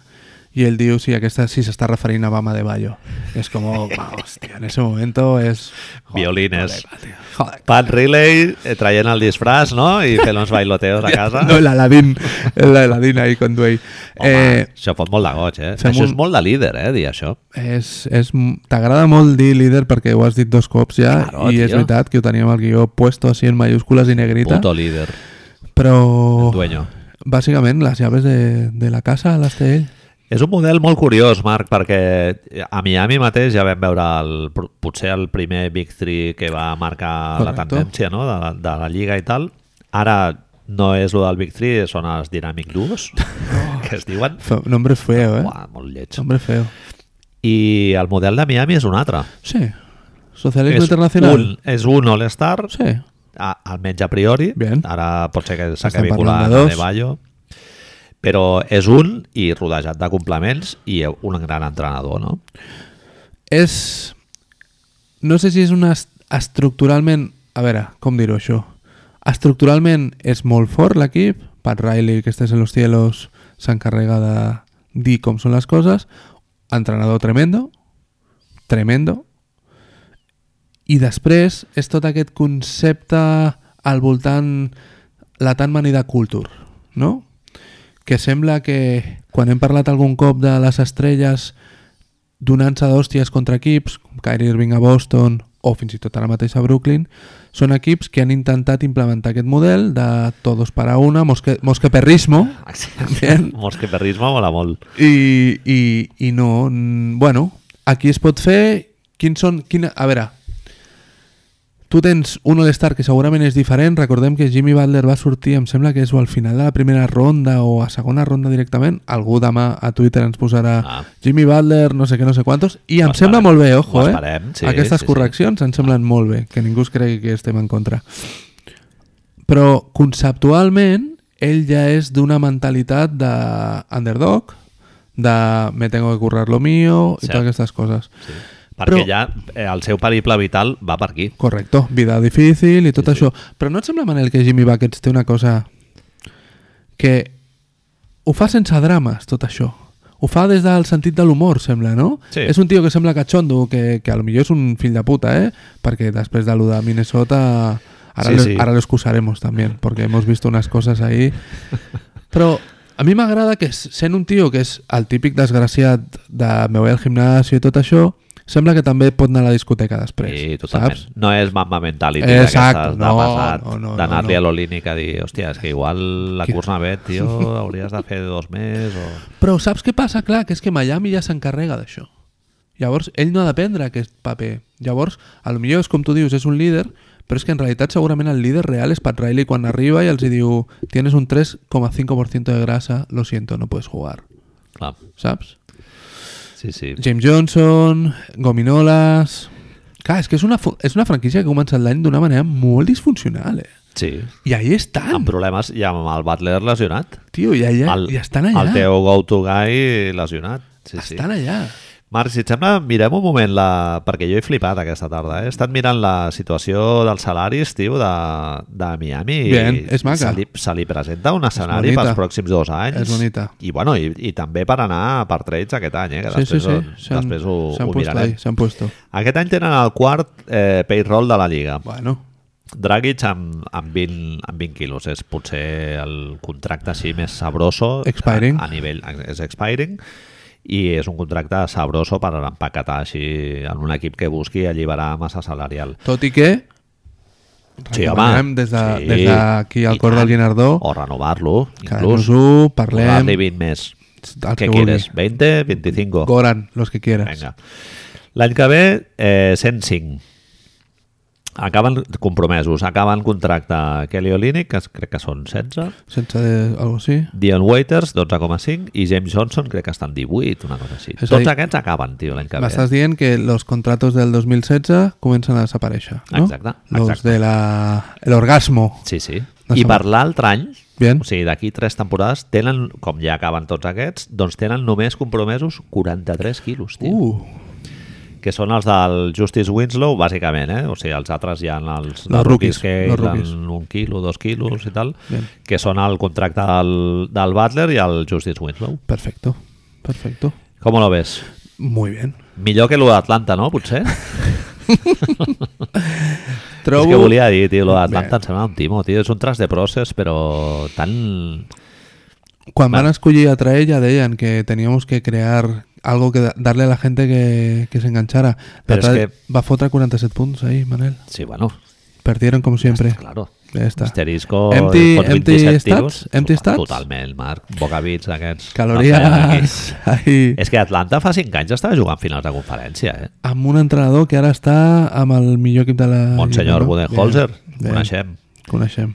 i ell diu si aquesta si s'està referint a Bama de Bayo. És com, vamos, tío, en ese momento és...
Violines.
Joder, joder.
Pat Riley eh, traient el disfraç, no? I fent uns bailoteos a casa.
No, eh, el Aladín, el Aladín ahí con Dwayne.
Home,
Eh,
això fot molt de goig, eh?
fem
Això
un-
és molt de líder, eh, dir això.
És, és, T'agrada molt dir líder perquè ho has dit dos cops ja
Claro,
i és
tio.
veritat que ho teníem al guió puesto així en mayúscules i negrita
Puto líder,
però
dueño.
bàsicament les llaves de, de la casa les té ell
És un model molt curiós, Marc, perquè a Miami mateix ja vam veure el, potser el primer Big 3 que va marcar la
Correcto.
tendència no? de, la- de la Lliga i tal. Ara no és el del Big 3, són els Dynamic Duos, que es diuen.
Fe, nombre feo, eh?
Uah, molt lleig.
Nombre feo
I el model de Miami és un altre.
sí, socialisme internacional
un, és un All-Star,
sí,
a, almenys a priori.
Bien.
Ara pot ser que
Estem
s'acabi
parlant
colant
de
de,
dos.
de Bayo. Però és un i rodejat de complements i un gran entrenador, no?
és no sé si és una est- estructuralment a veure, com dir-ho això estructuralment és molt fort l'equip Pat Riley, que estàs en los cielos s'encarrega de dir com són les coses entrenador tremendo tremendo i després és tot aquest concepte al voltant la tan manida culture no? que sembla que quan hem parlat algun cop de les estrelles donant-se d'hòsties contra equips, com Kyrie Irving a Boston o fins i tot ara mateix a Brooklyn, són equips que han intentat implementar aquest model de todos para una, mosque, mosqueperrismo, Bien.
Mosqueperrisme mola molt.
i, i, i no... mm, Bueno, aquí es pot fer... Quins són... Quina, a veure... Tu tens un All-Star que segurament és diferent. Recordem que Jimmy Butler va sortir, em sembla que és o al final de la primera ronda o a segona ronda directament. Algú demà a Twitter ens posarà
Ah.
Jimmy Butler, no sé què, no sé quantos. I
Ho
em sembla
esperem.
molt bé, ojo,
Ho
eh?
esperem, sí, sí,
Aquestes
sí.
correccions em semblen molt bé, que ningú es cregui que estem en contra. Però conceptualment ell ja és d'una mentalitat de underdog, de me tengo que currar lo mío i
Cert.
totes aquestes coses.
Sí. Perquè
Però-
ja eh, el seu periple vital va per aquí.
Correcto, vida difícil i tot sí, això. Però no et sembla, Manel, que Jimmy Buckets té una cosa que ho fa sense drames, tot això. Ho fa des del sentit de l'humor, sembla, no?
Sí.
És un tio que sembla catxondo, que, que a lo millor és un fill de puta, eh? Perquè després de lo de Minnesota... Ara,
Sí,
lo,
sí.
ara lo excusaremos también, porque hemos visto unas cosas ahí. Però a mi m'agrada que sent un tio que és el típic desgraciat de me voy al gimnasio i tot això, sembla que també pot anar a la discoteca després,
Sí, totalment.
saps?
No és mamma mentality
Exacte,
d'aquestes de
no,
passat,
no, no,
d'anar-li
no, no.
a l'Olínic a dir, hòstia, és que igual la
Que-
cursa bé, tio, hauries de fer dos més o...
Però saps què passa? Clar, que és que Miami ja s'encarrega d'això. Llavors, ell no ha de prendre aquest paper. Llavors, a lo millor és com tu dius, és un líder, però és que en realitat segurament el líder real és Pat Riley quan arriba i els hi diu tienes un 3,5% de grasa, lo siento, no puedes jugar.
Clar,
Saps?
sí, sí.
James Johnson, Gominolas... Clar, és que és una, fu- és una franquícia que ha començat l'any d'una manera molt disfuncional, eh?
Sí.
I ahí estan,
Amb problemes i amb el Butler lesionat.
tio, i, allà,
el,
i estan allà.
El teu go-to guy lesionat. Sí, sí.
estan allà.
Marc, si et sembla, mirem un moment la... perquè jo he flipat aquesta tarda. Eh? He estat mirant la situació dels salaris, tio, de, de Miami. i
Bien, és maca.
Se li, se li presenta un escenari
bonita.
pels pròxims dos anys.
És bonita.
I, bueno, i, i també per anar per trets aquest any, eh? que després,
S'han-
després ho,
s'han
ho
puesto
mirarem.
ahí, S'han puesto.
Aquest any tenen el quart eh, payroll de la Lliga.
Bueno,
Dragic amb, amb, 20, amb 20 quilos és potser el contracte així més sabroso
Expiring.
a, a nivell, és expiring i és un contracte sabroso per empaquetar així en un equip que busqui alliberar massa salarial
tot i que
Sí,
recomanem
home.
des de-
Sí.
des d'aquí al
I
cor
tant.
del Guinardó
o renovar-lo inclús,
quedar-nos-ho,
donar-li
parlem
20 més
el que
què
vulgui.
quieres? 20? 25?
Goran, los que quieras
Vinga. L'any que ve, eh, 105. Acaben compromesos, acaben contracte Kelly Olynyk, que es- crec que són 16.
sense de, algo així
Dion Waiters, 12,5, i James Johnson crec que estan 18, una cosa així.
És a
Tots
dir-
aquests acaben, tio, l'any que ve.
m'estàs dient que los contratos del 2016 comencen a desaparèixer no?
Exacte,
los
exacte.
de la el orgasmo
Sí, sí.
No
I
som-
per l'altre any,
Bien.
o sigui, d'aquí tres temporades, tenen, com ja acaben tots aquests, doncs tenen només compromesos 43 quilos, tio.
uh,
Que són els del Justice Winslow, bàsicament, eh? O sigui, els altres hi ha els,
Los rookies,
que
los
dan
rookies.
un quilo, dos quilos i tal,
Bien.
que són el contracte del, del Butler i el Justice Winslow.
perfecto perfecto
Com lo ves?
muy bien
Millor que lo d'Atlanta, no? Potser?
trobo
És que volia dir, tio, lo d'Atlanta
Bé.
em sembla un timo, tio. És un tras de process, però tan...
Quan van a escollir a Trae ya deían que teníamos que crear algo que da- darle a la gente que, que se enganchara. La
Pero es
Trae
que-
va a fotar 47 puntos ahí, Manel.
Sí, bueno,
Perdieron como siempre.
claro.
Ya está.
Asterisco,
Empty-
fots
empty
27
stats?
tiros.
Empty stats?
Totalment, Marc. Bocabits aquests. Aquí.
Calorías ahí.
És que Atlanta fa 5 anys estava jugant finals de conferència, eh?
Amb un entrenador que ahora está amb el millor equip de la...
Monsenyor
Lliga, no?
Budenholzer,
Bien, bien.
coneixem.
Coneixem.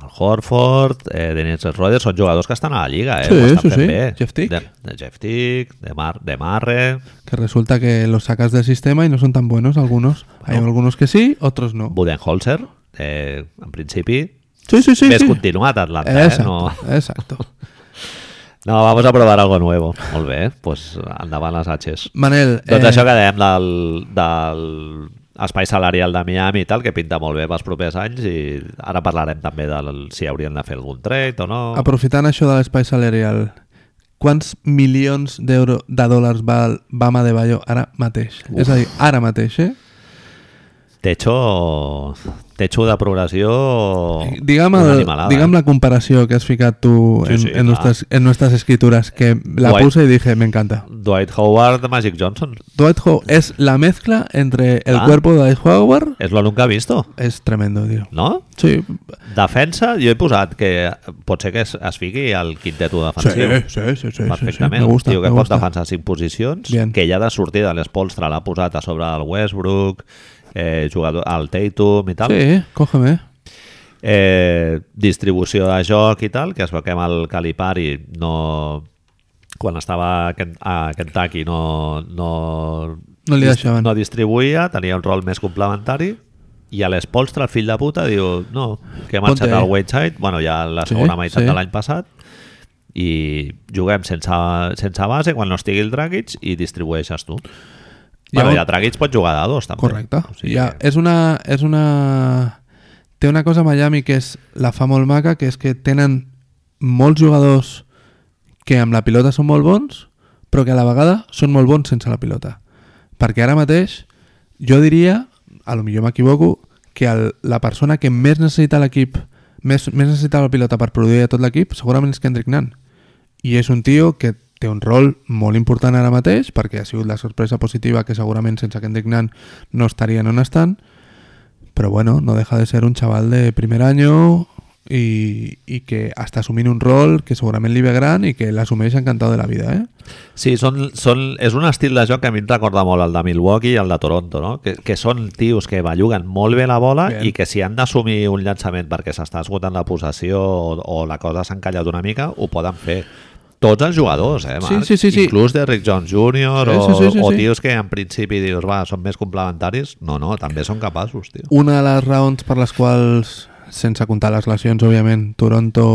El Horford, eh, Dennis Schroeder, són jugadors que estan a la Lliga, eh?
Sí,
Ho estan
sí,
fent
sí.
Bé.
Jeff Tick.
De, de Jeff Tick, de, Mar, de Marre,
Que resulta que los sacas del sistema y no son tan buenos algunos. Hay algunos que sí, otros no.
Budenholzer, eh, en principi,
Sí, sí, sí.
més
sí.
continuat Atlanta, eh?
Exacto,
No,
exacto.
No, vamos a probar algo nuevo. Molt bé, pues endavant les H's.
Manel,
Doncs
eh,
això que dèiem del, del espai salarial de Miami i tal, que pinta molt bé pels propers anys i ara parlarem també del si haurien de fer algun trade o no.
Aprofitant això de l'espai salarial, quants milions d'euro de dòlars val Bama de Bayo ara mateix? Uf. És a dir, ara mateix, eh?
De hecho, Techo de progressió...
Digue'm,
Oh, una
el,
animalada,
digue'm
eh?
la comparació que has ficat tu
Sí,
en,
sí,
en,
clar.
nuestras, en nuestras escrituras, que la
Dwight-
puse y dije, me encanta.
Dwight Howard, Magic Johnson.
Dwight Howard es la mezcla entre el
Ah.
cuerpo de Dwight Howard.
És lo nunca visto,
Es tremendo, tío.
no?
Sí,
Defensa, jo he posat que potser que es, es fiqui al quinteto
sí,
defensiu.
sí, sí, sí, sí,
Perfectament.
sí. Me gusta,
Tio que
me
pot
gusta.
defensar cinc posicions,
Bien.
que ja de sortida l'Espolstra l'ha posat a sobre del Westbrook, eh, jugador, el Tatum i tal.
Sí, cógeme.
Eh, distribució de joc i tal, que es veu que amb el Calipari no... Quan estava a Ken- a Kentucky no, no,
No li
dis-
deixaven.
no distribuïa, tenia un rol més complementari i a l'Espolstra, el fill de puta, diu no, que ha
Ponte
marxat
ahí.
al Wayside, bueno, ja la
Sí,
segona meitat
sí.
de l'any passat, i juguem sense, sense base quan no estigui el Dragic i distribueixes tu. Ja, bueno,
Llavors-
ja Dragic pot jugar de dos, també.
Correcte.
O
Sí,
sigui,
ja,
que-
és una, és una... Té una cosa a Miami que és la fa molt maca, que és que tenen molts jugadors que amb la pilota són molt bons, però que a la vegada són molt bons sense la pilota. Perquè ara mateix jo diria, a lo millor m'equivoco, que el, la persona que més necessita l'equip, més, més necessita la pilota per produir a tot l'equip, segurament és Kendrick Nunn. I és un tio que té un rol molt important ara mateix, perquè ha sigut la sorpresa positiva que segurament sense Kendrick Nunn no estarien on estan, però bueno, no deja de ser un xaval de primer any i, i que està assumint un rol que segurament li ve gran i que l'assumeix encantat de la vida, eh?
Sí, són, són, és un estil de joc que a mi em recorda molt el de Milwaukee i el de Toronto, no? que, que són tios que belluguen molt bé la bola
Bien.
Bien. i que si han d'assumir un llançament perquè s'està esgotant la possessió o, o la cosa s'ha encallat una mica, ho poden fer. Tots els jugadors, eh, Marc?
Sí, sí, sí, sí.
Inclús de Rick Jones Jr.
Sí,
o,
sí, sí, sí,
o
sí.
tios que en principi dius, va, són més complementaris. No, no, també són capaços, tio.
Una de les raons per les quals, sense comptar les lesions, òbviament, Toronto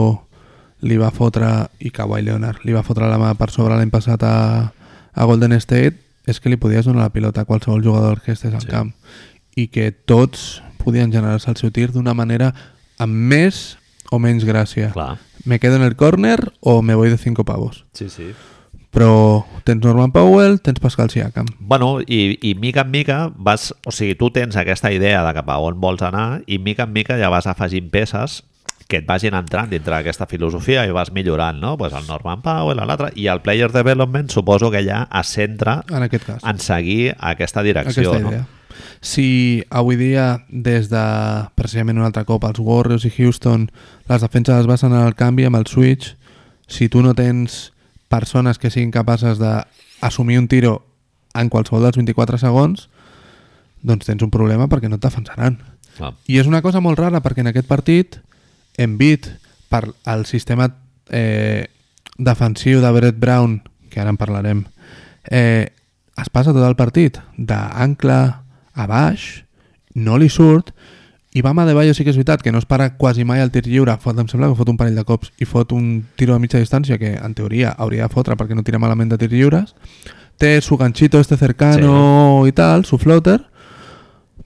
li va fotre, i Kawhi Leonard li va fotre la mà per sobre l'any passat a, a Golden State, és que li podies donar la pilota a qualsevol jugador que estés al sí. camp i que tots podien generar-se el seu tir d'una manera amb més o menys gràcia.
Clar.
me quedo en el corner o me voy de 5 pavos.
Sí, sí.
Però tens Norman Powell, tens Pascal Siakam.
Bueno, i, i mica en mica vas... O sigui, tu tens aquesta idea de cap a on vols anar i mica en mica ja vas afegint peces que et vagin entrant dintre d'aquesta filosofia i vas millorant, no? Pues el Norman Powell, l'altre... I el Player Development suposo que ja es centra
En aquest cas.
en seguir aquesta direcció,
aquesta idea. Si avui dia, des de precisament un altre cop, els Warriors i Houston, les defenses es basen en el canvi amb el switch, si tu no tens persones que siguin capaces d'assumir un tiro en qualsevol dels 24 segons, doncs tens un problema perquè no et defensaran.
no? Clar.
I és una cosa molt rara perquè en aquest partit Embiid per al sistema eh, defensiu de Brett Brown que ara en parlarem eh, es passa tot el partit d'ancle a baix no li surt i Bama de Bayo sí que és veritat que no es para quasi mai el tir lliure fot, em sembla que fot un parell de cops i fot un tiro a mitja distància que en teoria hauria de fotre perquè no tira malament de tir lliures té su ganchito este cercano i tal, su floater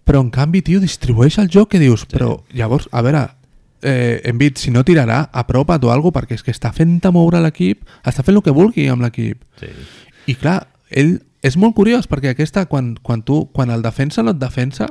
però en canvi, tio, distribueix el joc que dius, però llavors, a veure, eh, Envid, si no tirarà, apropa't o alguna perquè és que està fent-te moure l'equip, està fent el que vulgui amb l'equip.
Sí.
I clar, ell és molt curiós perquè aquesta, quan, quan, tu, quan el defensa no et defensa,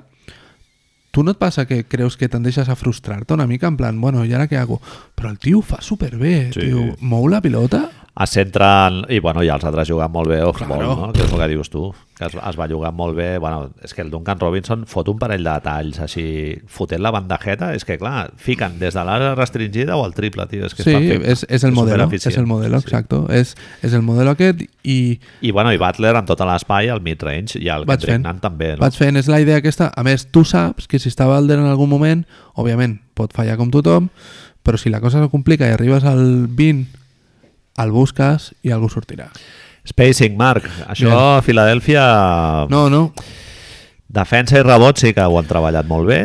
tu no et passa que creus que tendeixes a frustrar-te una mica en plan, bueno, i ara què hago? Però el tio ho fa superbé,
Sí.
sí. tio, mou la pilota...
Es centra en... I, bueno, i els altres juguen molt bé off-ball,
Claro.
no? Que és el que dius tu, que es, es va jugar molt bé. Bueno, és que el Duncan Robinson fot un parell de talls així, fotent la bandajeta. És que, clar, fiquen des de l'àrea restringida o el triple, tio. És que
Sí,
està fet,
és, és el modelo, és
supereficient.
el modelo, sí. exacto. És, és el modelo aquest i
I, bueno, i Butler amb tota l'espai, al mid-range i el
Vaig
Kendrick
fent.
Nunn també. No?
Vaig fent, és la idea aquesta. A més, tu saps que si està Balder en algun moment, òbviament, pot fallar com tothom, però si la cosa no complica i arribes al 20, el busques i algú sortirà.
Spacing, Marc. Això,
Bien.
a Filadèlfia, no.
No, no,
defensa i rebot sí que ho han treballat molt bé,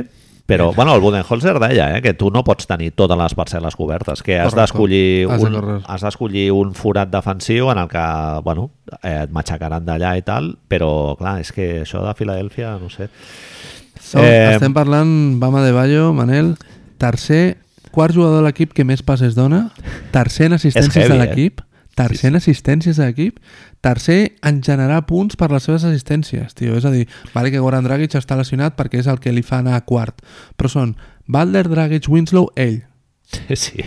però, bueno, el Budenholzer deia eh, que tu no pots tenir totes les parcel·les cobertes, que has
Correcte.
d'escollir
Has de
un,
correr.
has d'escollir un forat defensiu en el que, bueno, eh, et matxacaran d'allà i tal, però, clar, és que això de Filadèlfia, no sé...
Som,
Eh,
eh... estem parlant Bama de Bayo, Manel, tercer, quart jugador de l'equip que més passes dona, tercer en assistències
heavy,
de
eh?
l'equip, Tercer en assistències a l'equip, tercer en generar punts per les seves assistències, tio. És a dir, vale que Goran Dragic està lesionat perquè és el que li fa anar a quart, però són Butler, Dragic, Winslow, ell.
Sí,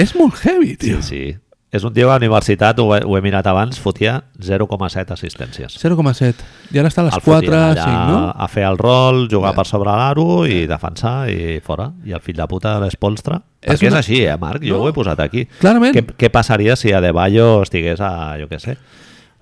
És molt heavy,
sí,
tio.
sí. És un tio a la universitat, ho he, ho he mirat abans, fotia 0,7 assistències.
0,7. I ara està a les
El
4,
fotien
5, no?
a fer el rol, jugar per sobre l'aro i defensar i fora. I el fill de puta l'espolstra.
És
Perquè és,
una-
així, eh, Marc? Jo
No.
ho he posat aquí.
Clarament.
Què, què passaria si Adebayo estigués a, jo què sé,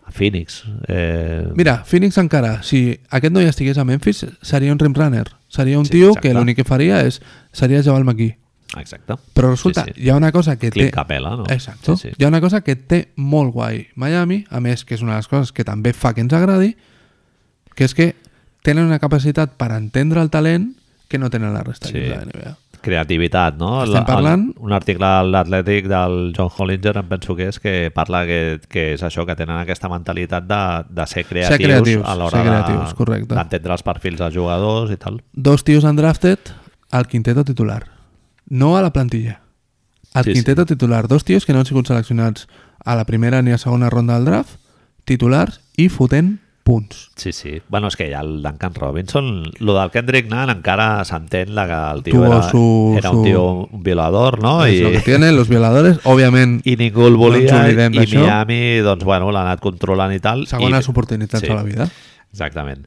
a Phoenix? Eh,
Mira, Phoenix encara, si aquest noi estigués a Memphis, seria un rimrunner. Seria un
Sí,
sí, tio
exacte.
que l'únic que faria és, seria Jabal McGee.
Exacte.
Però resulta, sí,
Sí,
sí.
sí.
hi ha una cosa que
Clint
té...
Capela, no?
Exacto.
Sí, sí.
Hi ha una cosa que té molt guai Miami, a més, que és una de les coses que també fa que ens agradi, que és que tenen una capacitat per entendre el talent que no tenen la resta
Sí.
sí. de la NBA.
Creativitat, no?
Estem parlant-
El, un article a l'Atlètic del John Hollinger, em penso que és, que parla que, que és això, que tenen aquesta mentalitat de, de ser creatius,
creatius,
a
ser
l'hora
creatius,
de-
correcte.
d'entendre els perfils dels jugadors i tal.
Dos tios undrafted al quinteto titular. No a la plantilla. Al
Sí,
sí,
sí.
quinteto sí. titular. Dos tios que no han sigut seleccionats a la primera ni a segona ronda del draft, titulars i fotent punts.
Sí, sí. Bueno, és que ja el Duncan Robinson, lo del Kendrick Nunn encara s'entén la que el tio
Tuvo
era,
su-
era un
su-
tio un violador, no?
És el
I,
que tienen los violadores, òbviament,
I ningú el
No ens
volia
oblidem
i
d'això.
Miami, doncs, bueno, l'ha anat controlant i tal.
segones
I...
oportunitats
sí.
a la vida.
Exactament.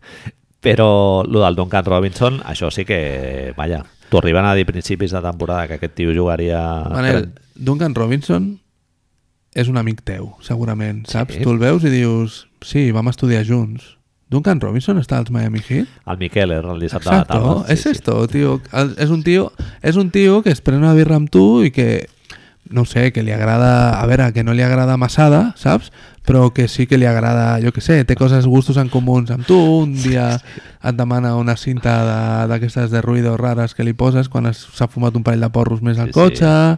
Però lo del Duncan Robinson, això sí que, vaja, t'ho arriben a dir principis de temporada que aquest tio jugaria...
Manel, Duncan Robinson és un amic teu, segurament, saps?
Sí.
Tu el veus i dius, sí, vam estudiar junts. Duncan Robinson està als Miami Heat?
El Miquel, el dissabte a la
Exacto,
tarda.
és esto, tio. El- És un tio, és un tio que es pren una birra amb tu i que, no ho sé, que li agrada, a veure, que no li agrada Masada, saps? Però que sí que li agrada, jo que sé, té coses, gustos en comuns amb tu, un dia et demana una cinta de- d'aquestes de, de ruido rares que li poses quan es- s'ha fumat un parell de porros més
Sí,
al
sí.
cotxe...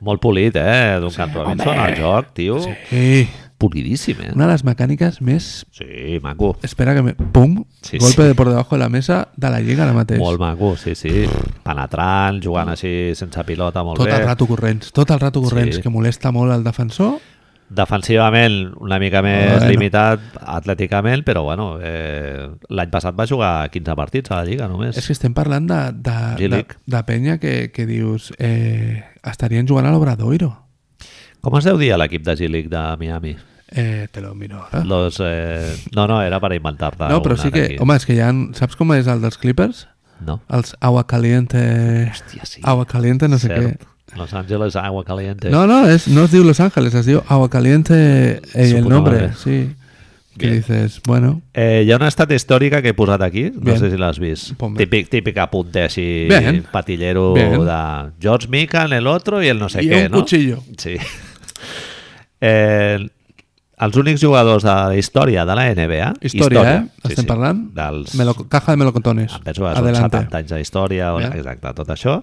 Molt polit, eh? Duncan Robinson al joc, tio.
Sí. sí.
Polidíssim, eh?
Una de les mecàniques més...
Sí, maco.
Espera que me... Pum!
Sí,
Sí, golpe
sí.
de por debajo de la mesa de la lliga ara mateix.
Molt maco, sí, sí. Penetrant, jugant així sense pilota, molt
tot
bé.
el rato corrents, tot el rato corrents,
Sí.
que molesta molt el defensor.
Defensivament una mica més
Bueno.
limitat atlèticament, però bueno, eh, l'any passat va jugar 15 partits a la Lliga només.
És que estem parlant de, de,
G
de,
League.
de penya que, que dius eh, estarien jugant a l'Obradoiro.
Com es deu dir a l'equip de G-League de Miami?
Eh, te lo miro ara.
Los, eh... No, no, era per inventar-te.
no,
alguna
però sí que...
d'aquí.
Home, és que ja... En, saps com és el dels Clippers?
No.
Els Agua Caliente...
Hòstia, sí.
Agua Caliente no sé
Cert.
què.
Los Angeles Agua Caliente.
No, no, es, no es diu Los Ángeles, es diu Agua Caliente eh,
Su
el
puta
nombre,
madre.
sí. Que
Bien.
dices, bueno...
Eh, hi ha una estat històrica que he posat aquí, no
Bien.
sé si l'has vist.
Ponme.
Típic, típic apunte així,
Bien.
patillero
Bien.
de George Mikan, el otro i el no sé
I
què,
un
no?
cuchillo.
Sí. Eh, els únics jugadors de la història de la NBA...
Història, eh?
Sí,
Estem
sí,
parlant?
Dels,
Melo, caja de melocotones.
em Ah, penso que són 70 anys d'història,
Bien.
exacte, tot això.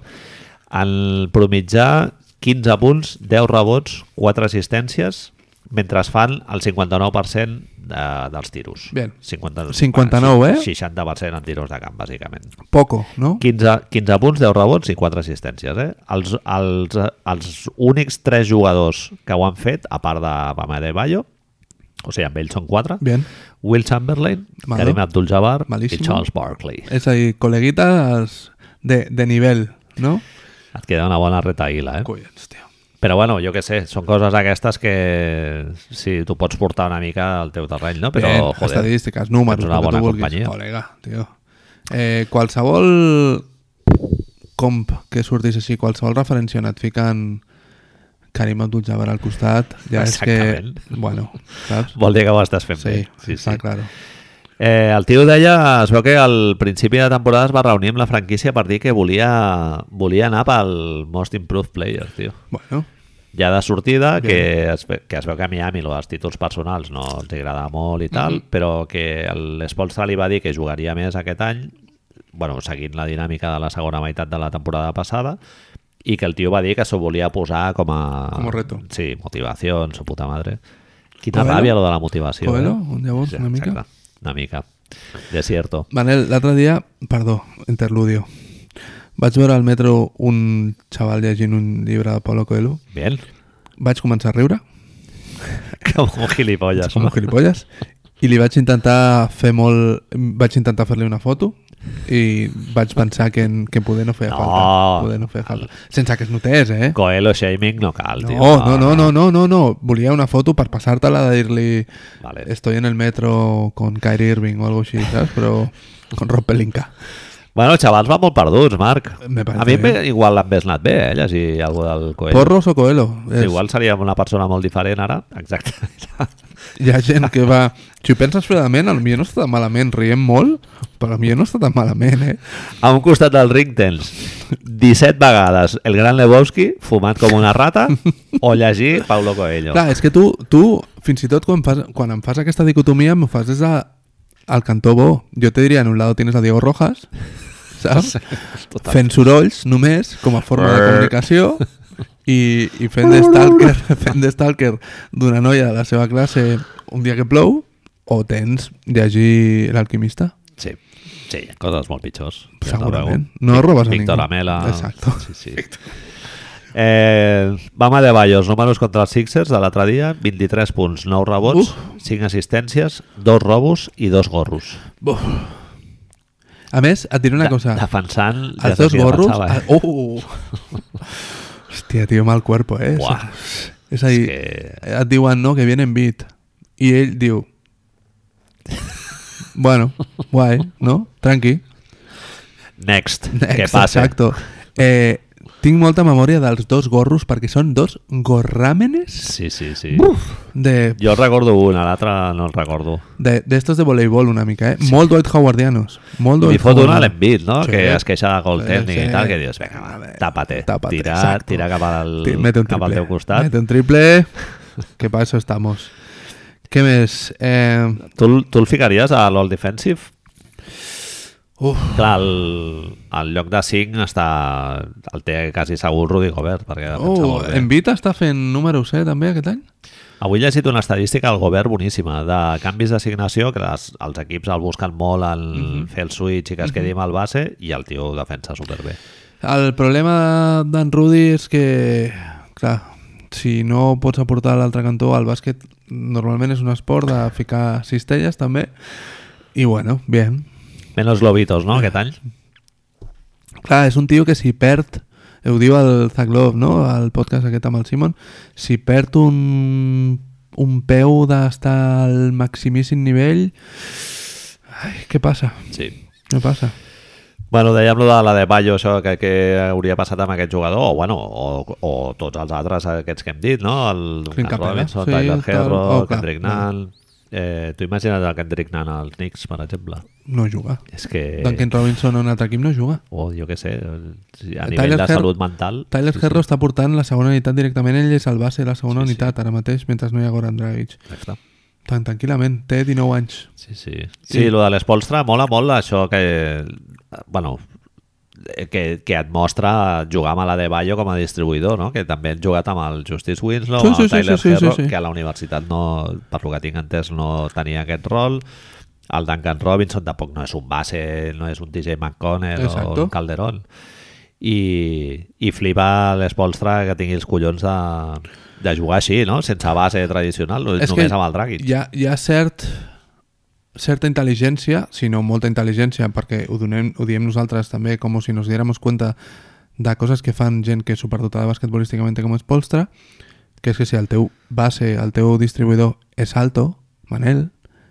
En promitjà 15 punts, 10 rebots, 4 assistències, mentre es fan el 59% de, dels tiros.
Bien.
50,
59, eh?
60% en tiros de camp, bàsicament.
Poco, no?
15, 15 punts, 10 rebots i 4 assistències. Eh? Els, els, els únics 3 jugadors que ho han fet, a part de Bama de Bayo, o sigui, amb ells són 4,
Bien.
Will Chamberlain,
Malo.
Karim Abdul-Jabbar i
Malísimo.
Charles Barkley.
Es ahí, coleguitas de, de nivel, ¿no?
Et queda una bona retaïla, eh?
Collons, tio.
Però bueno, jo que sé, són coses aquestes que sí, tu pots portar una mica al teu terreny, no? Però,
Bien,
joder,
estadísticas, números,
tens una
lo que
bona
tu vulguis.
companyia.
Colega, tio. Eh, qualsevol comp que sortís així, qualsevol referència on et fiquen Karim Abdul-Jabbar al costat, ja és que...
Exactament.
Bueno, saps?
vol dir que ho estàs fent bé.
Sí, sí, està claro.
Eh, el tio deia, es veu que al principi de temporada es va reunir amb la franquícia per dir que volia, volia anar pel Most Improved Player, tio.
Bueno,
Ja de sortida, que es, ve- que es veu que a Miami lo dels títols personals no els agradava molt i tal,
Mhm.
però que l'Espolstra li va dir que jugaria més aquest any, bueno, seguint la dinàmica de la segona meitat de la temporada passada, i que el tio va dir que s'ho volia posar com a...
Com a reto.
Sí, motivació, en su puta madre. Quina
Coelho?
ràbia, lo de la motivació.
Coelho,
eh?
llavors, una mica.
Exacte, una mica. De cierto.
Manel, l'altre dia, perdó, interludio, vaig veure al metro un xaval llegint un llibre de Paulo Coelho
Bien.
vaig començar a riure,
Com un gilipolles.
com
no?
un gilipolles, i li vaig intentar fer molt... Vaig intentar fer-li una foto i vaig pensar que, en, que poder no feia
No.
falta. Poder no feia falta. Sense que es notés, eh?
Coelho shaming no cal, tio.
No, no, no, no, no, no, no. Volia una foto per passar-te-la de dir-li
Vale.
estoy en el metro con Kyrie Irving o algo així, saps? Però con Rob Pelinka.
Bueno, xavals va molt perduts, Marc.
Me parece
a mi
bien.
bé. igual l'hagués anat bé, eh, llegir algú del Coelho.
Porros o Coelho?
Sí, igual seria una persona molt diferent ara. Exacte.
Hi ha gent que va... Si ho penses fredament, potser no està tan malament. Riem molt, però potser no està tan malament, eh?
A un costat del ring tens 17 vegades el gran Lebowski fumat com una rata o llegir Paulo Coelho.
Clar, és que tu, tu fins i tot quan, fas, quan em fas aquesta dicotomia m'ho fas des de al cantó bo. Jo te diria, en un lado tienes a Diego Rojas, saps?
Total.
Fent sorolls només, com a forma de comunicació, i, i fent de stalker, fent de stalker d'una noia de la seva classe un dia que plou, o tens llegir l'alquimista.
Sí. sí, hi ha coses molt pitjors.
Segurament. No robes a ningú.
Víctor Amela.
Exacto.
Sí, sí. Eh, Bama de Bayos, números contra els Sixers de l'altre dia, 23 punts, 9 rebots,
Uf.
5 assistències, 2 robos i 2 gorros.
Buf. A més, et diré una
De-
cosa.
Defensant... ja
Els
saps
dos
qui
gorros...
defensava, eh?
a- Oh! Hòstia, tio, mal cuerpo, eh?
Buah.
És a dir,
És
et diuen, no, que vienen beat. I ell diu... bueno, guai, no? Tranqui.
Next, que
Next,
passa.
Exacto. Eh, tinc molta memòria dels dos gorros perquè són dos gorràmenes
Sí, sí, sí.
Buf! de
Jo recordo un, a l'altre no el recordo.
de- d'estos de, de voleibol una mica, eh? Molt Dwight Howardianos. Molt
Li
Dwight
fot una a
Howard.
l'envit, no?
Doncs Sí.
Sí. Que es queixa de gol
Sí,
tècnic
sí.
i tal, que dius, vinga,
A
va,
veure,
tàpate,
tápate,
tira,
exacto.
tira cap al,
Ti- Mete un
cap al
triple.
teu costat.
Mete un triple. Que para eso estamos. ¿Qué més? Eh,
Tu, el- tu el ficaries a l'All Defensive?
uf,
Clar, el, el lloc de 5 està, el té quasi segur Rudy Gobert, perquè defensa
oh,
molt bé.
Envita està fent números, eh, també, aquest any?
Avui he llegit una estadística al Gobert boníssima de canvis d'assignació, que les, els equips el busquen molt en
Mhm.
fer el switch i que es quedi amb el base, i el tio ho defensa superbé.
El problema d'en Rudy és que, clar, si no pots aportar a l'altre cantó al bàsquet, normalment és un esport de ficar cistelles, també. I bueno, bien.
Menos lobitos, no?,
Eh.
aquest any.
Clar, és un tio que si perd, ho diu el Zaglov, no?, al podcast aquest amb el Simon, si perd un, un peu d'estar al maximíssim nivell, ai, què passa?
Sí.
Què passa?
Bueno, dèiem lo de la de Bayo, això que, que hauria passat amb aquest jugador, o, bueno, o, o tots els altres aquests que hem dit, no? El
Clint
Duncan
Capella,
Robinson,
sí,
Tyler
tal.
Herro,
Oh, clar,
Kendrick Nunn... Eh, tu imagina't el Kendrick Nunn als Knicks, per exemple.
No juga.
És que...
Duncan Robinson en un altre equip no juga.
O jo què sé, si a
Tyler
nivell de
Her-
salut mental...
Tyler sí, Herro està portant la segona unitat directament, ell és el base de la segona
Sí, sí.
sí, unitat ara mateix, mentre no hi ha Goran Dragic.
Exacte.
Tan tranquil·lament, té 19 anys.
Sí, sí. Sí, sí lo de l'espolstra mola molt això que... Bueno, que, que et mostra jugar amb la de Bayo com a distribuïdor, no? que també han jugat amb el Justice Winslow,
Sí,
amb
sí,
el
sí,
Tyler
sí, sí,
Herro,
sí, sí.
que a la universitat, no, per lo que tinc entès, no tenia aquest rol. El Duncan Robinson tampoc no és un base, no és un DJ McConnell o
Exacto.
un Calderón. I, i flipa l'espolstra que tingui els collons de, de jugar així, no? sense base tradicional,
És
Doncs només
que
amb el Dragic.
Hi ha, hi ha cert, certa intel·ligència, si no molta intel·ligència, perquè ho, donem, ho diem nosaltres també, com si nos diéramos cuenta de coses que fan gent que és superdotada basquetbolísticament com és Polstra, que és que si el teu base, el teu distribuïdor és alto, Manel,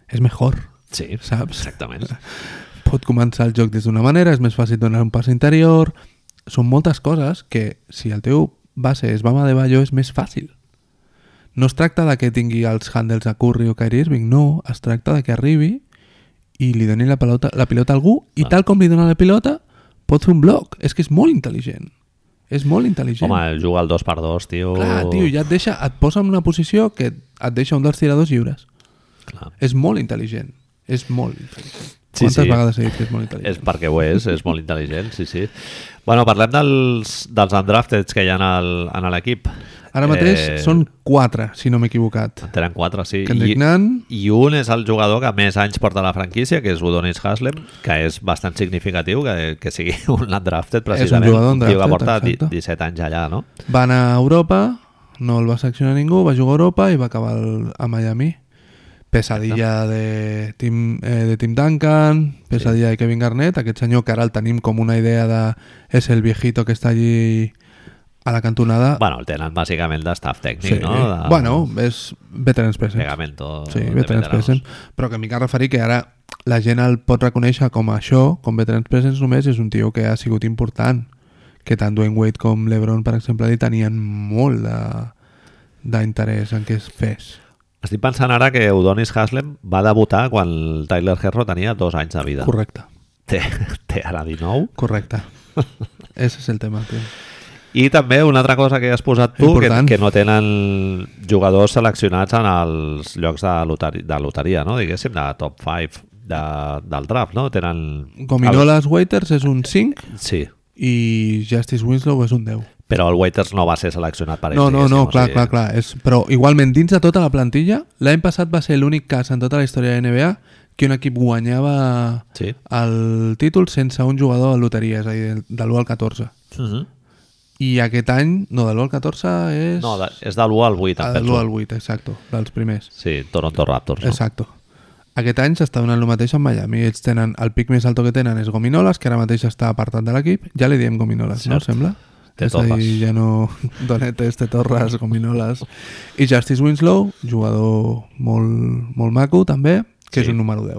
és mejor,
Sí,
saps?
exactament.
pot començar el joc des d'una manera, és més fàcil donar un pas interior... Són moltes coses que, si el teu base és Bama de Bayo, és més fàcil. No es tracta de que tingui els handles a Curry o Kyrie Irving, no. Es tracta de que arribi i li doni la pelota, la pilota a algú i
Ah.
tal com li dona la pilota pot fer un bloc. És que és molt intel·ligent. És molt intel·ligent.
Home, juga al 2x2, tio.
Clar, tio, ja et, deixa, et posa en una posició que et deixa un dels tiradors lliures.
Clar.
És molt intel·ligent. És molt intel·ligent.
Sí,
Quantes
sí.
vegades he dit que és molt intel·ligent?
És perquè ho és, és molt intel·ligent, sí, sí. Bueno, parlem dels, dels undrafteds que hi ha en el- en l'equip.
Ara mateix
Eh,
són 4, si no m'he equivocat.
En tenen quatre, sí.
Kendrick Nunn.
I un és el jugador que més anys porta a la franquícia, que és Udonis Haslem, que és bastant significatiu que, que sigui un undrafted,
És
precisament.
un jugador
tio que
undrafted,
porta di-
exacte.
17 anys allà, no?
Van a Europa, no el va seleccionar ningú, va jugar a Europa i va acabar el, a Miami. Pesadilla de Tim, eh, de Tim Duncan, pesadilla de Kevin Garnett, aquest senyor que ara el tenim com una idea de és el viejito que està allí a la cantonada.
Bueno, el tenen bàsicament de staff tècnic, no? De...
Bueno, és Veterans Presence.
Pegamento
Sí, Veterans Presence. Però que m'hi cal referir que ara la gent el pot reconèixer com això, com Veterans Presence només és un tio que ha sigut important. Que tant Dwayne Wade com LeBron, per exemple, li tenien molt de- d'interès en què es fes.
Estic pensant ara que Udonis Haslem va debutar quan el Tyler Herro tenia dos anys de vida.
Correcte,
Té, té ara 19.
correcte. Ese és el tema, tio.
I també una altra cosa que has posat tu, que,
Important.
que no tenen jugadors seleccionats en els llocs de, loteri, de loteria, no? diguéssim, de top 5 de, del draft, no? Tenen...
Gominolas Waiters és un 5
El, sí,
i Justice Winslow és un 10.
però el Waiters no va ser seleccionat per ells.
No, no,
diguéssim,
no,
o
clar,
sigui,
clar, clar. És, però igualment, dins de tota la plantilla, l'any passat va ser l'únic cas en tota la història de NBA que un equip guanyava
Sí.
el títol sense un jugador de loteria, és a dir, de l'1 al 14.
Uh -huh.
I aquest any, no, de l'1 al 14 és...
No, de, és de l'1 al 8,
ah,
em
de l'1
penso.
al 8, exacte, dels primers.
Sí, Toronto Raptors. No?
Exacto. Aquest any s'està donant el mateix a Miami. Ells tenen, el pic més alto que tenen és Gominolas, que ara mateix està apartat de l'equip. Ja li diem Gominolas, no?
Cert.
Sembla?
Te
és a dir,
torres.
ja no... Donetes, te torres, Gominolas. I Justice Winslow, jugador molt, molt maco, també,
Sí.
que és un número 10.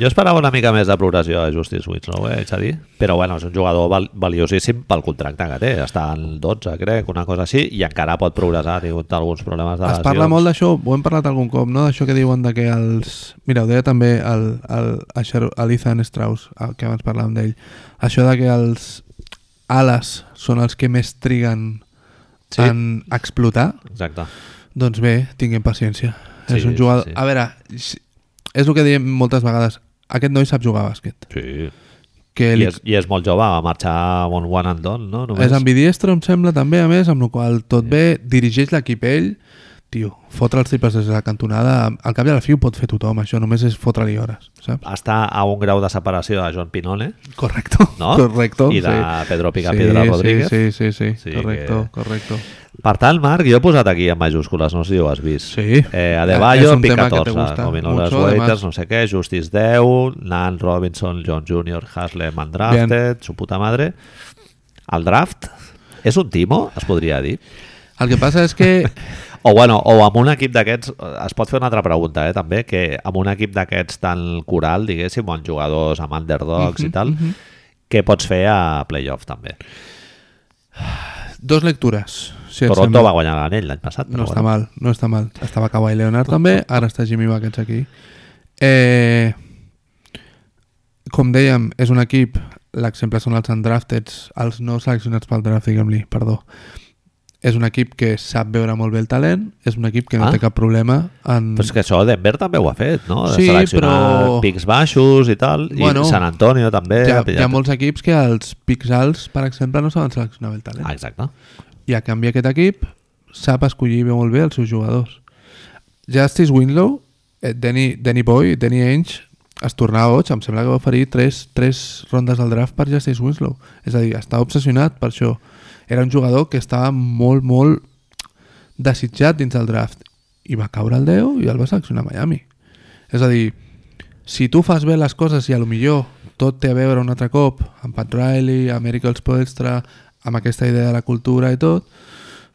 Jo esperava una mica més de progressió de Justice Winslow, eh, haig de dir. Però bueno, és un jugador val valiosíssim pel contracte que té. Està en 12, crec, una cosa així, i encara pot progressar. Ha tingut alguns problemes de
Es
lesions.
parla molt d'això, ho hem parlat algun cop, no? D'això que diuen de que els... Mira, ho deia també el, el, a Sher- a l'Ethan Strauss, el que abans parlàvem d'ell. Això de que els ales són els que més triguen
Sí.
sí. en explotar,
Exacte.
doncs bé, tinguem paciència.
Sí,
Sí, és un jugador...
sí,
Sí,
sí.
sí. A veure, si- és el que diem moltes vegades. Aquest noi sap jugar a bàsquet.
Sí.
Que
I
li...
és, I és molt jove, va marxar amb un one and done, no? Només.
és ambidiestro, em sembla, també, a més, amb la qual cosa tot bé, dirigeix l'equip ell, tio, fotre els triples des de la cantonada, al cap i a la fi ho pot fer tothom, això només és fotre-li hores, saps?
Està a un grau de separació de Joan Pinone,
Correcto,
No?
correcto.
I de
Oh, sí.
Pedro Picapiedra
sí,
Rodríguez.
Sí, sí, sí,
Sí
sí, correcto,
que-
correcto.
Per tant, Marc, jo he posat aquí en majúscules, no sé si ho has vist.
Sí.
Eh,
És
Adebayo,
un
Pic
tema que te
14,
gusta
Gominolas
mucho, además.
Waiters, no sé què, Justice 10, Nan Robinson, John Jr., Haslem, Undrafted, su puta madre. El draft és un timo, es podria dir?
El que passa és que
O, bueno, o amb un equip d'aquests, es pot fer una altra pregunta, eh, també, que amb un equip d'aquests tan coral, diguéssim, o amb jugadors amb underdogs
Mhm,
i tal, què pots fer a playoff, també?
dos lectures. Si et
Toronto
sembla.
va guanyar l'anell l'any passat.
No
però
està
bueno.
mal, no està mal. Estava Kawhi Leonard també, ara està Jimmy Buckets aquí. Eh, com dèiem, és un equip, l'exemple són els undrafteds, els no seleccionats pel draft, diguem-li, perdó. És un equip que sap veure molt bé el talent, és un equip que no
Ah.
té cap problema en...
Però és que això Denver també ho ha fet, no? De
Sí,
seleccionar
però-
pics baixos i tal, bueno,
Bueno,
i San Antonio també.
hi, ha,
ha
hi
pillat-
ha molts equips que els pics alts, per exemple, no saben seleccionar bé el talent.
Ah, exacte.
I a canvi aquest equip sap escollir bé molt bé els seus jugadors. Justice Winslow, eh, Danny, Danny Boy, Danny Ainge, es tornava boig, em sembla que va oferir tres, tres rondes al draft per Justice Winslow. És a dir, estava obsessionat per això. Era un jugador que estava molt, molt desitjat dins del draft. I va caure el 10 i el va seleccionar a Miami. És a dir, si tu fas bé les coses i a lo millor tot té a veure un altre cop amb Pat Riley, amb Eric Spoelstra, amb aquesta idea de la cultura i tot,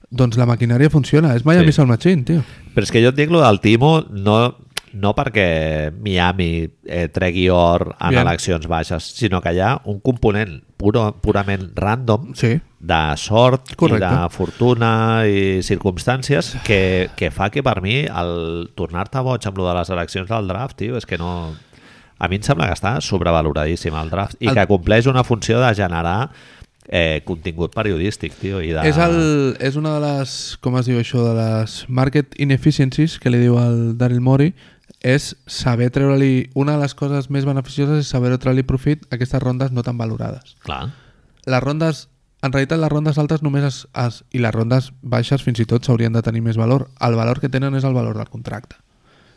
doncs la maquinària funciona. És Miami
Sí.
sí. Sound Machine, tio.
Però és que jo et dic lo del Timo no, no perquè Miami eh, tregui or en
Bien.
eleccions baixes, sinó que hi ha un component puro, purament random
Sí.
de sort
Correcte.
i de fortuna i circumstàncies que, que fa que per mi el tornar-te boig amb lo de les eleccions del draft, tio, és que no... A mi em sembla que està sobrevaloradíssim el draft i
El-
que compleix una funció de generar eh, contingut periodístic, tio, i de...
És, el, és una de les, com es diu això, de les market inefficiencies que li diu el Daryl Morey, és saber treure-li... Una de les coses més beneficioses és saber treure-li profit a aquestes rondes no tan valorades.
Clar.
Les rondes... En realitat, les rondes altes només es, es, i les rondes baixes fins i tot s'haurien de tenir més valor. El valor que tenen és el valor del contracte.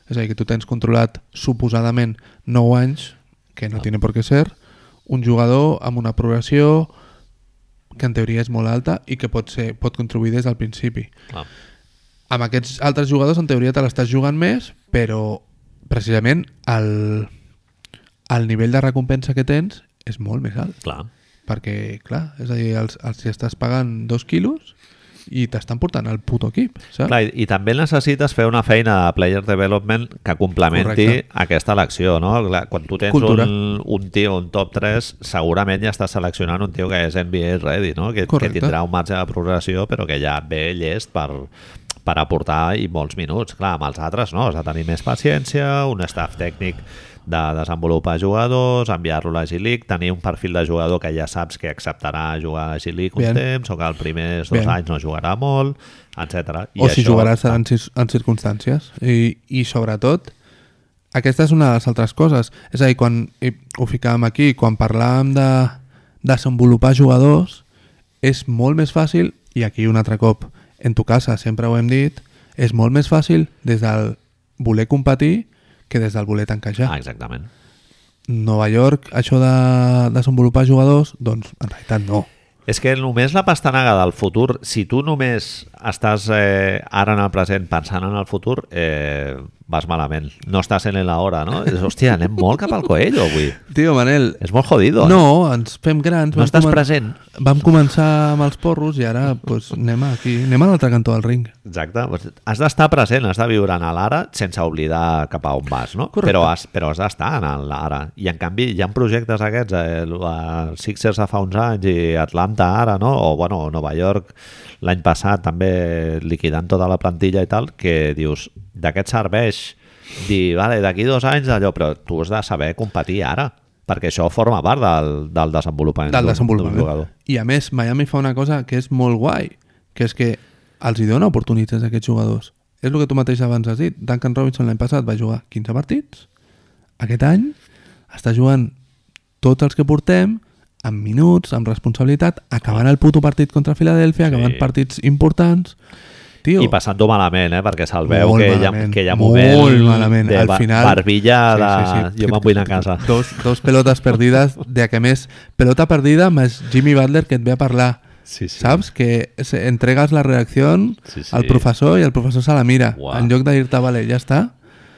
És a dir, que tu tens controlat suposadament 9 anys, que no tiene por qué ser, un jugador amb una progressió que en teoria és molt alta i que pot, ser, pot contribuir des del principi.
Clar.
Amb aquests altres jugadors, en teoria, te l'estàs jugant més, però precisament el, el nivell de recompensa que tens és molt més alt.
Clar.
Perquè, clar, és a dir, els, els hi estàs pagant dos quilos i t'estan portant al puto equip, saps?
Clar, i, I també necessites fer una feina de player development que complementi
Correcte.
aquesta elecció, no? Clar, quan tu tens
Cultura.
un, un tio, un top 3, segurament ja estàs seleccionant un tio que és NBA ready, no? Que, que
Correcte.
tindrà un marge de progressió, però que ja ve llest per, per aportar i molts minuts. Clar, amb els altres no, has de tenir més paciència, un staff tècnic de desenvolupar jugadors, enviar-lo a la G-League, tenir un perfil de jugador que ja saps que acceptarà jugar a la G-League un
Bien.
temps, o que els primers dos
Bien.
anys no jugarà molt, etc.
o si jugaràs en, cis- en circumstàncies. I, I sobretot, aquesta és una de les altres coses. És a dir, quan i ho ficàvem aquí, quan parlàvem de desenvolupar jugadors, és molt més fàcil, i aquí un altre cop, en tu casa sempre ho hem dit, és molt més fàcil des del voler competir que des del voler tanquejar.
Ah, exactament.
Nova York, això de desenvolupar jugadors, doncs en realitat no.
És que només la pastanaga del futur, si tu només estàs eh, ara en el present pensant en el futur, eh, vas malament. No estàs en l'hora, no? És, hòstia, anem molt cap al coello avui.
Tio, Manel,
És molt jodido. eh?
no, ens fem grans.
no
vam
estàs
comen-
present.
Vam començar amb els porros i ara pues, anem aquí, anem a l'altre cantó del ring.
Exacte. Doncs Has d'estar present, has de viure en l'ara sense oblidar cap a on vas, no?
Correcte.
Però has, però has d'estar en l'ara. I en canvi hi ha projectes aquests, eh, el- els Sixers de fa uns anys i Atlanta ara, no? O bueno, Nova York l'any passat també liquidant tota la plantilla i tal, que dius, de què et serveix dir, vale, d'aquí dos anys allò, però tu has de saber competir ara, perquè això forma part del, del desenvolupament
Del
d'un- d'un
desenvolupament.
jugador.
I a més, Miami fa una cosa que és molt guai, que és que els hi dona oportunitats a aquests jugadors. És el que tu mateix abans has dit. Duncan Robinson l'any passat va jugar 15 partits. Aquest any està jugant tots els que portem amb minuts, amb responsabilitat, acabant el puto partit contra Filadèlfia, acabant
Sí.
partits importants. Tio,
I passant-ho malament, eh? perquè se'l veu
Molt
que hi, ha,
malament,
que hi ha
molt
moment
malament.
de
Al
ba-
final-
barbilla
Sí,
de...
sí, sí.
Jo me'n vull anar a casa.
Dos, dos pelotes perdides, de que més... Pelota perdida més Jimmy Butler que et ve a parlar.
Sí, sí.
Saps? Que se- entregues la redacció
Sí, sí.
al professor i el professor se la mira.
Uah.
En lloc de dir-te, vale, ja està.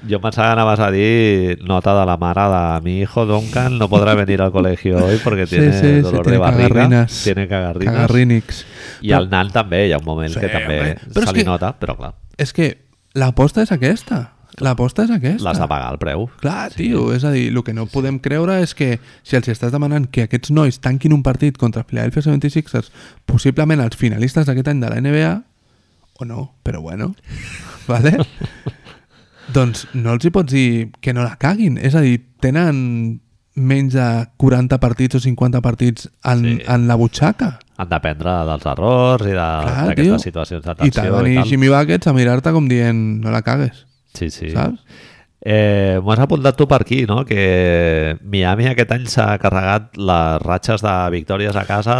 Jo em pensava que anaves a dir nota de la mare de mi hijo Duncan no podrá venir al colegio hoy porque
Sí,
tiene
sí, sí,
dolor de
tiene
barriga.
cagarrines.
Tiene cagarrines.
Cagarrínix.
I al nan també hi ha un moment
Sí,
que també
home. Però
se
és
li
que-
nota, però clar,
És que l'aposta és aquesta. L'aposta és aquesta.
l'has de pagar el preu.
Clar, tio, és a dir, el que no podem creure és que si els estàs demanant que aquests nois tanquin un partit contra els Philadelphia 76ers, possiblement els finalistes d'aquest any de la NBA, o no, però bueno, vale? doncs no els hi pots dir que no la caguin, és a dir, tenen menys de 40 partits o 50 partits en, sí.
Sí.
en la butxaca.
Han d'aprendre dels errors i de-
Clar, tio.
d'aquestes situacions de
I t'ha de
tensió i,
venir
tal.
Jimmy Buckets a mirar-te com dient no la cagues,
Sí, sí.
sí. saps?
Eh, M'ho has apuntat tu per aquí, no? Que Miami aquest any s'ha carregat les ratxes de victòries a casa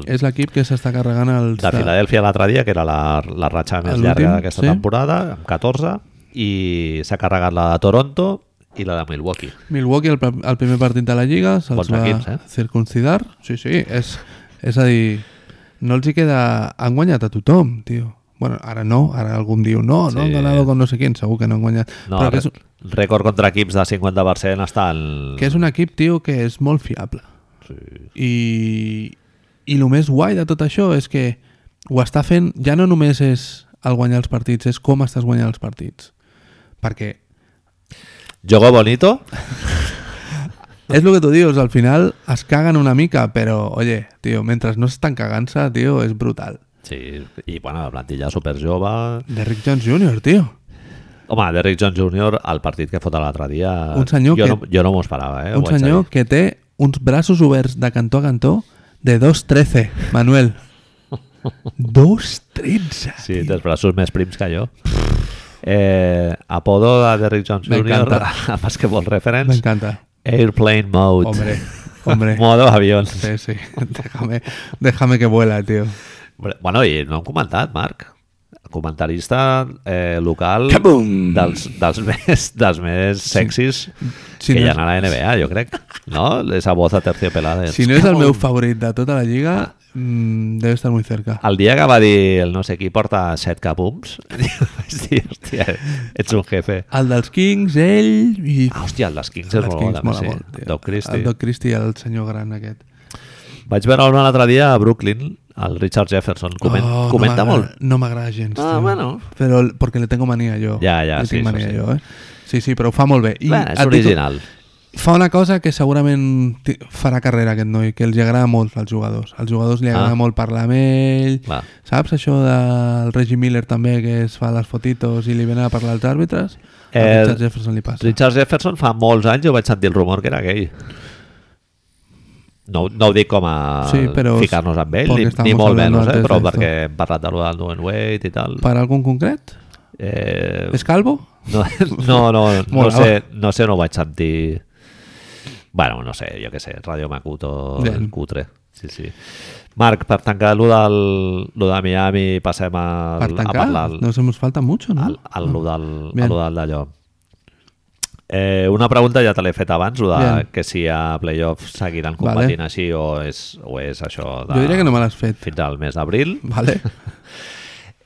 de,
És l'equip que s'està carregant els...
de Filadèlfia l'altre dia, que era la, la ratxa més
L'últim,
llarga d'aquesta
sí.
temporada, amb 14, i s'ha carregat la de Toronto i la de Milwaukee.
Milwaukee el, pr- el primer partit de la Lliga se'ls
Bons
va
equips, eh?
circuncidar sí, sí, és, és a dir no els hi queda, han guanyat a tothom tio, bueno, ara no, ara algú em diu no,
Sí.
no han ganat con no sé quin, segur que no han guanyat
No,
però que és,
rècord contra equips de 50% està el...
que és un equip, tio, que és molt fiable
Sí.
i, i el més guai de tot això és que ho està fent, ja no només és el guanyar els partits, és com estàs guanyant els partits perquè
Jogo bonito,
És lo que tu dius, al final es caguen una mica, però, oye, tio, mentre no s'estan cagant-se, tio, és brutal.
sí, i bueno, la plantilla superjove...
Derrick Jones Jr., tio.
Home, Derrick Jones Jr., el partit que fot l'altre dia...
Un senyor
jo
que-
No, jo no m'ho esperava, eh?
Un
ho haig de
senyor
dir.
que té uns braços oberts de cantó a cantó de 2'13, Manuel. 2'13,
Sí, té els braços més prims que jo. Eh, apodo de Derrick Jones Jr.
M'encanta.
a Basketball Reference
M'encanta.
Airplane Mode.
Hombre, hombre.
Modo avión.
Sí, sí. Déjame, déjame que vuela, tio.
Bueno, i no hem comentat, Marc, comentarista eh, local
Kaboom!
dels, dels, més, dels més sexis que
Si no
hi ha
és-
a la NBA, jo crec. No? Esa voz aterciopelada.
Si no és el meu favorit de tota la lliga, mm, deu estar muy cerca.
El dia que va dir el no sé qui porta set capums, vaig dir, hòstia, ets un jefe.
El dels Kings, ell i...
Ah, hòstia, el dels Kings
el
és
dels
molt bo, també, sí.
tio.
Doc Christie.
El Doc Christie, el senyor gran aquest.
Vaig veure un l'altre dia a Brooklyn, el Richard Jefferson. Comen
Oh,
comenta
no m'agrada-
molt.
No m'agrada gens,
Ah,
tio.
bueno.
Però el- perquè le tengo manía jo.
Ja, ja,
Le
sí,
tinc
això
mania
sí.
jo, eh? Sí, sí, però ho fa molt bé. I
Bueno, és
et dic-
original.
Fa una cosa que segurament ti- farà carrera aquest noi, que els agrada molt als jugadors. Als jugadors li agrada
Ah.
molt parlar amb ell.
Va.
Saps això del Reggie Miller també, que es fa les fotitos i li venen a parlar als àrbitres? Eh,
Eh,
a Richard Jefferson li passa.
Richard Jefferson fa molts anys jo vaig sentir el rumor que era gay. No, no ho dic com a
Sí, però-
ficar-nos amb ell,
porque
ni,
estamos
ni molt
hablando
menys, eh?
antes
però
de esto.
perquè hem parlat de lo del Dwayne Wade i tal.
Per algun concret?
Eh,
És calvo?
No, no, no, no,
Molava.
sé, no sé, no vaig sentir... Bueno, no sé, jo què sé, Radio Makuto,
Bien.
el cutre. Sí, sí. Marc, per tancar lo, del, lo de Miami, passem a,
Per
a
tancar?
parlar al,
Nos hemos falta mucho, ¿no?
al, al, lo del, a
Bien.
lo del d'allò. Eh, una pregunta ja te l'he fet abans, lo de
Bien.
que si a playoff seguiran combatint així o és, o és això de,
Jo diria que no me l'has fet.
fins al mes d'abril.
Vale?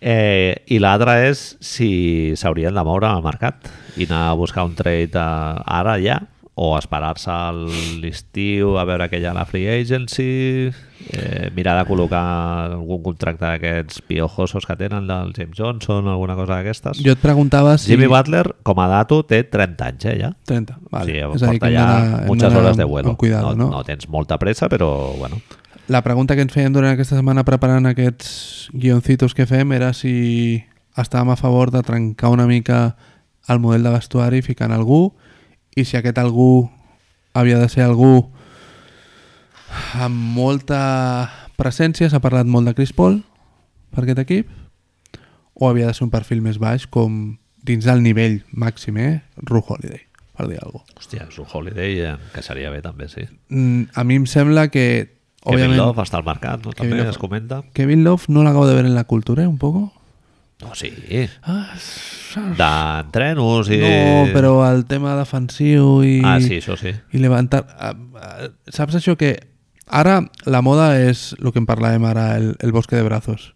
Eh, I l'altra és si s'haurien de moure al mercat i anar a buscar un trade eh, ara ja o esperar-se a l'estiu a veure que hi ha la free agency eh, mirar de col·locar algun contracte d'aquests piojosos que tenen del James Johnson alguna cosa d'aquestes
Jo et preguntava si...
Jimmy Butler com a dato té 30 anys eh, ja
30, vale.
o
És
sigui,
a dir, que
porta
hem
ja
d'anar- hem
muchas
d'anar
hores de
amb-
vuelo
Amb cuidado, no?
no, no tens molta pressa però bueno
La pregunta que ens feien durant aquesta setmana preparant aquests guioncitos que fem era si estàvem a favor de trencar una mica el model de vestuari ficant algú i si aquest algú havia de ser algú amb molta presència, s'ha parlat molt de Chris Paul per aquest equip o havia de ser un perfil més baix com dins del nivell màxim, eh? Ru Holiday, per dir alguna cosa.
hòstia, és un holiday eh, que seria bé també sí
Mm, a mi em sembla que,
Kevin
òbviament,
Love està al mercat no?
Kevin
també
Love.
es comenta
Kevin Love no l'acabo de ver en la cultura, ¿eh? un poco.
No, Oh, sí.
Ah,
D'entrenos i...
No, però el tema defensiu i,
Ah, sí, això sí.
i levantar... Ah, ah, Saps això que... Ara la moda és el que en parlàvem ara, el, el bosque de brazos.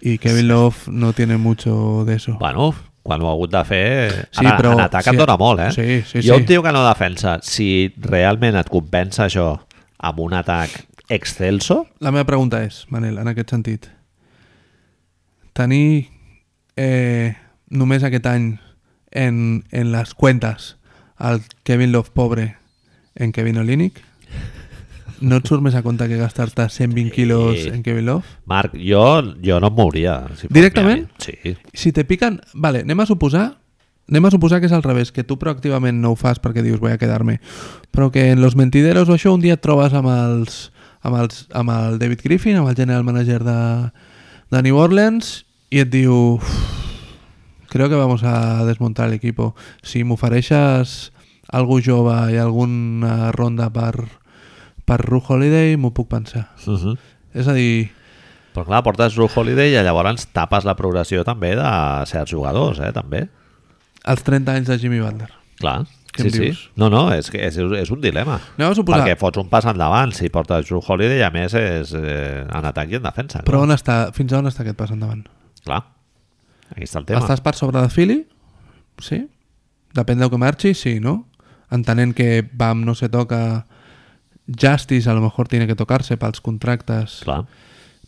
I Kevin Love no tiene mucho de eso.
Bueno, quan ho ha hagut de fer...
Sí,
ara,
però-
en atac
sí.
et dona molt, eh?
Sí, sí,
Jo
sí.
un tio que no defensa, si realment et compensa això amb un atac excelso,
La meva pregunta és, Manel, en aquest sentit, tenir eh, només aquest any en, en les cuentes el Kevin Love pobre en Kevin Olínic, no et surt més a compte que gastar-te 120 quilos en Kevin Love?
Marc, jo, jo no em mouria. Si fos
Directament?
Miami. Sí.
Si te piquen... Vale, anem a suposar anem a suposar que és al revés, que tu proactivament no ho fas perquè dius voy a quedar-me, però que en Los Mentideros o això un dia et trobes amb els, amb, els, amb el David Griffin, amb el general manager de, de New Orleans, i et diu "Uf, creo que vamos a desmontar el equipo. Si m'ofereixes algú jove i alguna ronda per, per Ru Holiday, m'ho puc pensar.
Uh -huh.
És a dir,
Però clar, portes Drew Holiday i llavors tapes la progressió també de certs jugadors, eh, també.
els 30 anys de Jimmy Butler.
Clar.
Què
Sí,
em
sí.
dius?
No, no, és, que és, és un dilema.
Anem a suposar...
Perquè fots un pas endavant si portes Drew Holiday i a més és eh, en atac i en defensa.
Però on està, fins a on està aquest pas endavant?
Clar. clar. Aquí està el
Tema.
tema.
Estàs per sobre de Philly? Sí? Depèn del que marxi, sí, no? Entenent que BAM no se toca, Justice a lo mejor tiene que tocarse pels contractes.
Clar.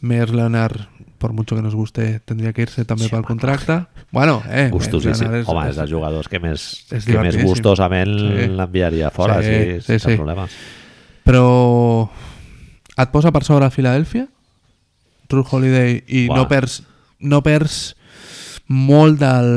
Mears Leonard, por mucho que nos guste, tendría que irse també sí, pel contracte. Bueno, eh,
Gustos, sí,
Myers
sí.
Leonard
Home, és dels jugadors que més,
és
que més
divertidíssim.
gustosament
Sí.
sí. l'enviaria fora,
Sí,
sí, sí,
sí,
sense
sí.
problemes.
Però et posa per sobre a Filadèlfia, True Holiday, i
Buah.
no perds, no perds molt del,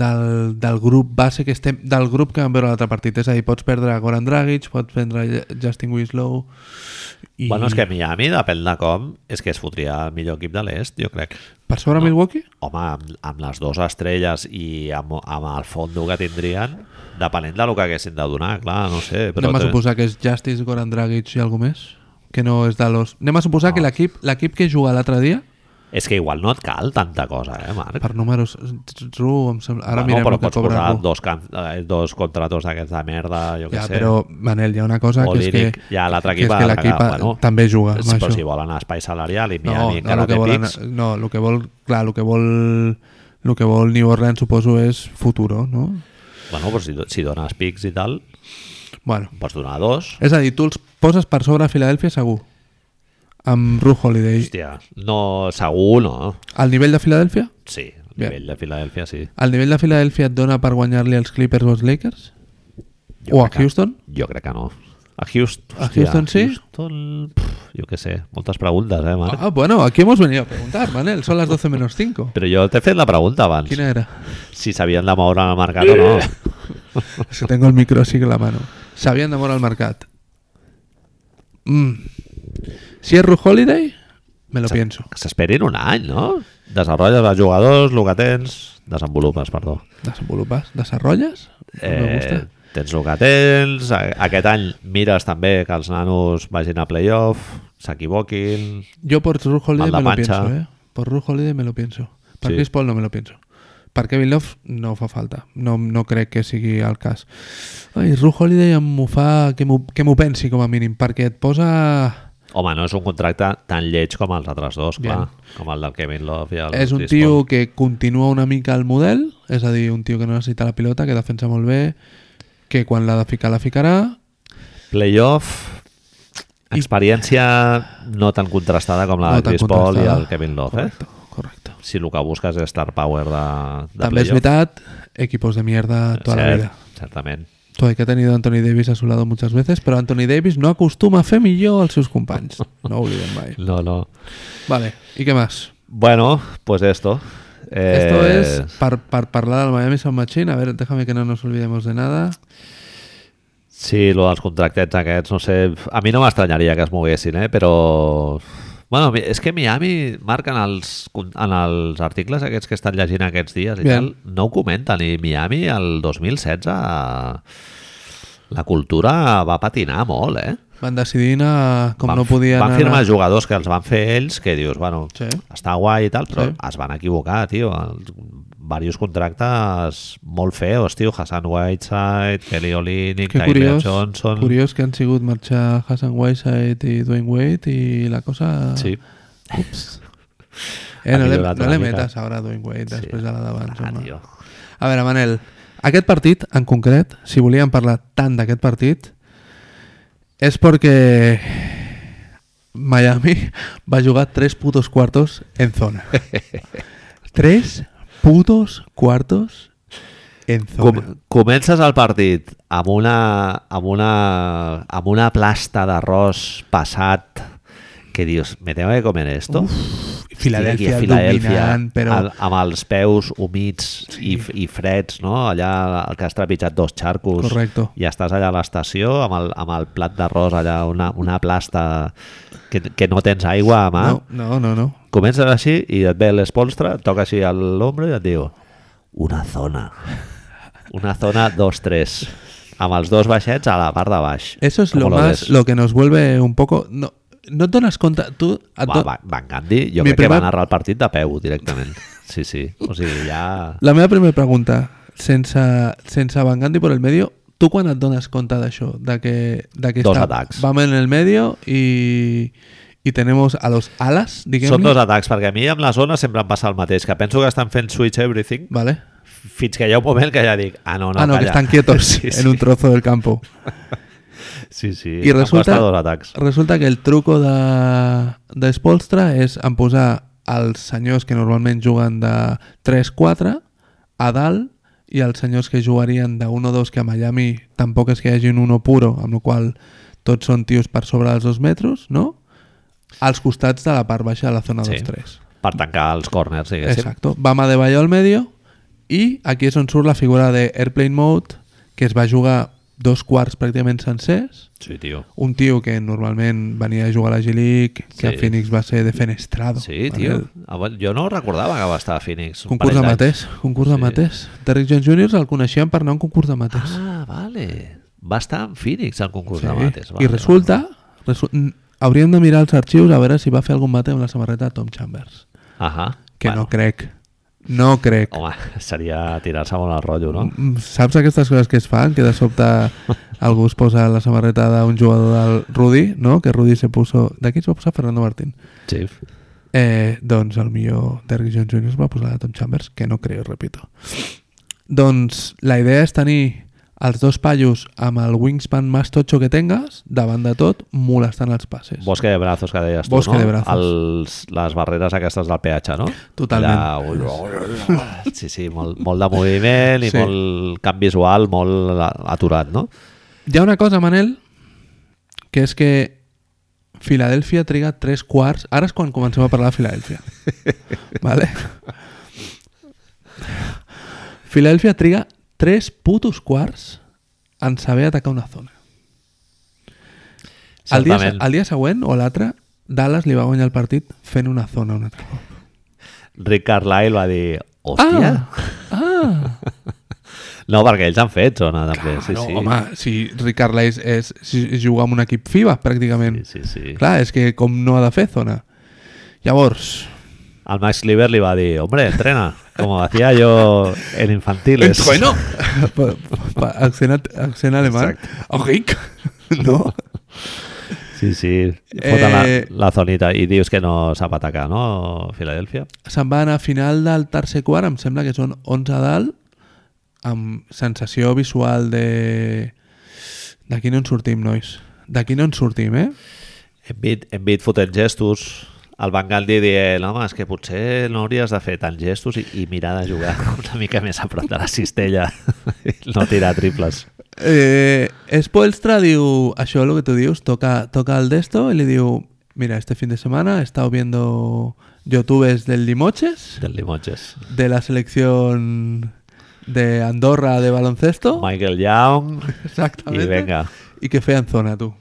del, del grup base que estem, del grup que vam veure l'altre partit. És a dir, pots perdre Goran Dragic, pots perdre J- Justin Winslow...
I...
I
Bueno, és que Miami, depèn de com, és que es fotria el millor equip de l'est, jo crec.
Per sobre no. Milwaukee?
Home, amb, amb les dues estrelles i amb, amb el fondo que tindrien, depenent del que haguessin de donar, clar, no sé.
Però
Però
Anem a
te-
suposar que és Justice, Goran Dragic i algú més? Que no és de los... Anem a suposar no. que l'equip l'equip que juga l'altre dia
És que igual no et cal tanta cosa, eh, Marc?
Per números... Ru, em sembla... Ara
Bueno,
mirem
però
el que
pots
cobra
posar
Ru.
dos, can... eh, dos contratos d'aquests de merda, jo què
Ja,
sé.
però, Manel, hi ha una cosa
o
que és que,
l'Iric, ja l'altre equip...
que, és que
ha de
l'equip
cagar.
bueno, també juga amb
sí,
això.
Però si volen espai salarial i
no,
Miami
no,
encara
el que
té
volen,
pics...
no, el que vol, clar, el que vol, el que vol New Orleans suposo és futuro, no?
Bueno, però si, do- si dones pics i tal,
Bueno,
pots donar dos.
és a dir, tu els poses per sobre a Filadèlfia segur, amb Ru Holiday.
Hòstia, no, segur no.
Al nivell de Filadèlfia?
Sí, a
Bé.
nivell de Filadèlfia sí.
Al nivell de Filadèlfia et dona per guanyar-li als Clippers o als Lakers? o a
crec que-
Houston?
Jo crec que no. A Houston,
A Houston sí?
Houston, pff, jo què sé, moltes preguntes, eh, Marc?
Ah, bueno, aquí hemos venido a preguntar, Manel. Son las 12 menos 5.
Però jo t'he fet la pregunta abans.
¿Quién era?
Si s'havien de moure al mercat o
Eh!
no.
Es que tengo el micro así en la mano. Sabían de amor al mercat. Mm. Si es Ru Holiday, me lo pienso.
Que s'esperin un any, no? Desenrotlles els jugadors, el que tens... Desenvolupes, perdó.
Desenvolupas, desarrollas. No me gusta.
Eh, tens el que tens, a- aquest any mires també que els nanos vagin a playoff, s'equivoquin...
Yo por Ru Holiday
Manda
me lo
pancha.
pienso, ¿eh? Por Ru Holiday me lo pienso. Per
Sí.
Chris Paul no me lo pienso. Per Kevin Love no fa falta. No, no crec que sigui el cas. Ai, Ru Holiday em ho fa... Que m'ho que m'ho pensi, com a mínim, perquè et posa...
Home, no és un contracte tan lleig com els altres dos, clar.
Bien.
Com el del Kevin Love i el
És un
Chris
tio
Paul.
que continua una mica el model, és a dir, un tio que no necessita la pilota, que defensa molt bé, que quan l'ha de ficar la ficarà,
Playoff...
I-
Experiència no tan contrastada com la
no
de
tan
Chris Paul i
contrastada.
el Kevin Love, eh?
correcte, Correcte.
si el que busques és star power de, de
També és veritat, equipos de mierda toda la vida.
Certament.
Tu, que ha tenido Anthony Davis a su lado muchas veces, però Anthony Davis no acostuma a fer millor els seus companys. No ho oblidem mai.
No, no.
Vale, i què més?
Bueno, pues esto. Eh,
Esto es, per, per parlar del Miami Sound Machine, a ver, déjame que no nos olvidemos de nada.
Sí, lo dels contractets aquests, no sé... A mi no m'estranyaria que es moguessin, eh? Però... Bueno, mi- és que Miami, Marc, en els, con- en els articles aquests que estan llegint aquests dies i
Bien.
tal, no ho comenten. I Miami, el 2016, la cultura va patinar molt, eh?
Van decidir anar, com
van,
no podien
Van
anar-
firmar jugadors que els van fer ells, que dius, bueno,
Sí.
sí. està guai i tal, però
Sí.
sí. es van equivocar, tio. Els- Varios contractes molt feos, tio. Hassan Whiteside, Kelly Olynyk,
Que
Tyler
curiós,
Johnson...
curiós que han sigut marxar Hassan Whiteside i Dwayne Wade i la cosa...
Sí.
Ups. Eh, no
Ha
le,
millorat
no
una
le
mica.
metes ara a Dwayne Wade després de la d'abans.
Ah,
home.
tio.
a veure, Manel, aquest partit en concret, si volíem parlar tant d'aquest partit, és perquè Miami va jugar tres putos quartos en zona. tres putos quartos en
Com,
zona.
comences el partit amb una, amb una, amb una plasta d'arròs passat que dius, me tengo que comer esto.
Filadèlfia
Estic aquí a Filadèlfia,
dominant, però-
al- amb els peus humits sí. i, f- i freds, no? Allà el que has trepitjat dos xarcos.
Correcto.
I estàs allà a l'estació amb, el, amb el plat d'arròs allà, una, una plasta que, que no tens aigua a mà.
No, no, no, no.
Comences així i et ve l'espolstra, et toca així a l'ombra i et diu una zona. Una zona 2-3. Amb els dos baixets a la part de baix.
Eso es
Com
lo más,
ves?
lo que nos vuelve un poco... No, no te das cuenta, tú... a
Va,
to-
va, Van Gandhi, jo
Mi
crec que va
primer-
narrar el partit de peu directament. Sí, sí. O sigui, ja...
La meva primera pregunta, sense, sense Van Gandhi por el medio, tu quan et dones compte d'això? De que, de que
Dos
està-
atacs.
Vamos en el medio y, y tenemos a los alas, diguem
Són dos atacs, perquè a mi amb la zona sempre em passa el mateix, que penso que estan fent switch everything,
Vale.
fins que hi ha un moment que ja dic, ah, no, no,
ah, no, que
calla.
están quietos
Sí, sí,
en un trozo del campo.
sí, sí.
I resulta,
Em costa dos atacs.
resulta que el truco de, de Spolstra és en posar els senyors que normalment juguen de 3-4 a dalt i els senyors que jugarien de 1-2 que a Miami tampoc és que hi hagi un 1 puro, amb la qual tots són tios per sobre dels 2 metres, no? Als costats de la part baixa de la zona
Sí.
2-3.
Per tancar els corners, diguéssim.
Exacto. Bama de Bayo al medio i aquí és on surt la figura de Airplane Mode que es va jugar dos quarts pràcticament sencers
Sí, tio.
un tio que normalment venia a jugar a la G-League, que
Sí.
a Phoenix va ser defenestrado.
Sí,
Vale.
tio. Ah, bueno, Jo no recordava que va estar a Phoenix. un
Concurs de
parell d'anys.
maters, concurs de
Sí.
maters. Derrick Jones Jr. el coneixien per anar a un concurs de maters.
Ah, vale. Va estar en Phoenix al concurs
Sí.
de mates. Vale,
I resulta, resu- n- hauríem de mirar els arxius a veure si va fer algun mate amb la samarreta de Tom Chambers.
Vale. Ahà.
que
bueno,
no crec. No crec.
Home, seria tirar-se molt al rotllo, no?
Mm, Saps aquestes coses que es fan? Que de sobte algú es posa la samarreta d'un jugador del Rudi, no? Que Rudi se puso... De qui es va posar Fernando Martín?
Sí.
Eh, doncs el millor Derrick Jones Jr. es va posar la Tom Chambers, que no creo, repito. Doncs la idea és tenir els dos paios amb el wingspan més totxo que tengas, davant de tot, molestant els passes.
Bosque de brazos que deies tu,
Bosque
no?
de brazos.
Els, les barreres aquestes del peatge, no?
Totalment.
Allà, sí, sí, molt, molt de moviment i
Sí.
sí. molt camp visual, molt aturat, no?
Hi ha una cosa, Manel, que és que Filadèlfia triga tres quarts... Ara és quan comencem a parlar de Filadèlfia. vale? Filadèlfia triga tres putos quarts en saber atacar una zona. El dia,
Certament.
el dia següent o l'altre, Dallas li va guanyar el partit fent una zona un altre cop.
Rick Carlisle va dir, hòstia,
Ah!
no, perquè ells han fet zona, també.
Claro,
sí, sí.
Ah, Home, si Ricard Leis és, si juga amb un equip FIBA, pràcticament.
sí, sí, sí.
Clar, és que com no ha de fer zona. Llavors...
Al Max Lieber li va dir, hombre, entrena, como hacía yo en infantiles.
Pa- pa- accent, at- accent alemany. Ric, no?
Sí, sí, fota
Eh,
la, la zonita i dius que no sap atacar, no, Filadèlfia?
Se'n va anar a final del tercer quart, em sembla que són 11 a dalt, amb sensació visual de... D'aquí no en sortim, nois. D'aquí no en sortim, eh?
Envit, envit fotent gestos, el Van Gandhi dient, home, és que potser no hauries de fer tants gestos i, i mirar de jugar una mica més a prop de la cistella, no tirar triples.
Eh, Spoelstra diu, això lo que tú dius, toca, toca el de esto y le digo, mira, este fin de semana he estado viendo youtubers del Limoches,
del Limoges.
de la selección de Andorra de baloncesto.
Michael Young,
Exactamente.
i venga.
Y que fean zona, tú.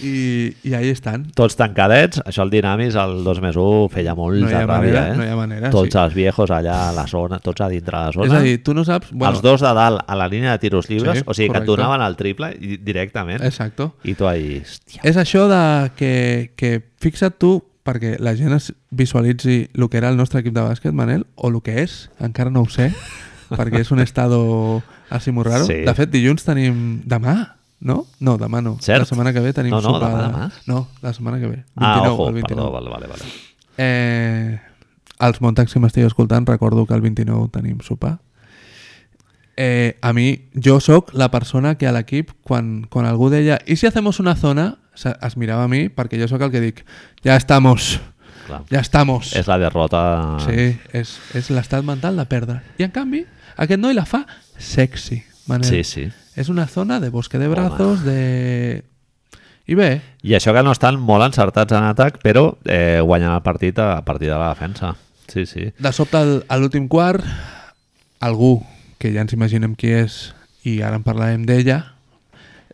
Y, y ahí están.
tots tancadets, això el Dinamis el 2 més 1 feia molta
No hi ha
ràbia,
manera,
eh?
no hi ha manera,
Tots
sí.
els viejos allà a la zona, tots a dintre la
es
zona.
ahí, tú no sabes... Bueno,
els dos de dalt a la línia de tiros lliures,
Sí,
o sigui que
correcte.
et donaven el triple i- directament.
Exacto.
I tu ahí, hòstia,
És això de que, que fixa't tu perquè la gent es visualitzi el que era el nostre equip de bàsquet, Manel, o el que és, encara no ho sé, perquè és un estado així molt raro.
Sí.
De fet, dilluns tenim... Demà, no? No, demà no.
Cert.
La setmana que ve tenim
No, no,
sopar
demà,
de-
demà.
No, la setmana que ve. 29,
ah, ojo,
el 29.
perdó, vale, vale, vale.
Eh, als Montax, si m'estigueu escoltant, recordo que el 29 tenim sopar. Eh, a mi, jo sóc la persona que a l'equip, quan, quan algú deia i si hacemos una zona, se- es mirava a mi perquè jo sóc el que dic ja estamos,
Clar.
ja estamos.
És la derrota...
Sí, és, és l'estat mental de perdre. I en canvi, aquest noi la fa sexy. Manel.
sí, sí.
És una zona de bosque de brazos, de... I bé,
I això que no estan molt encertats en atac, però eh, guanyant el partit a partir de la defensa. Sí, sí.
De sobte, al- a l'últim quart, algú, que ja ens imaginem qui és, i ara en parlarem d'ella,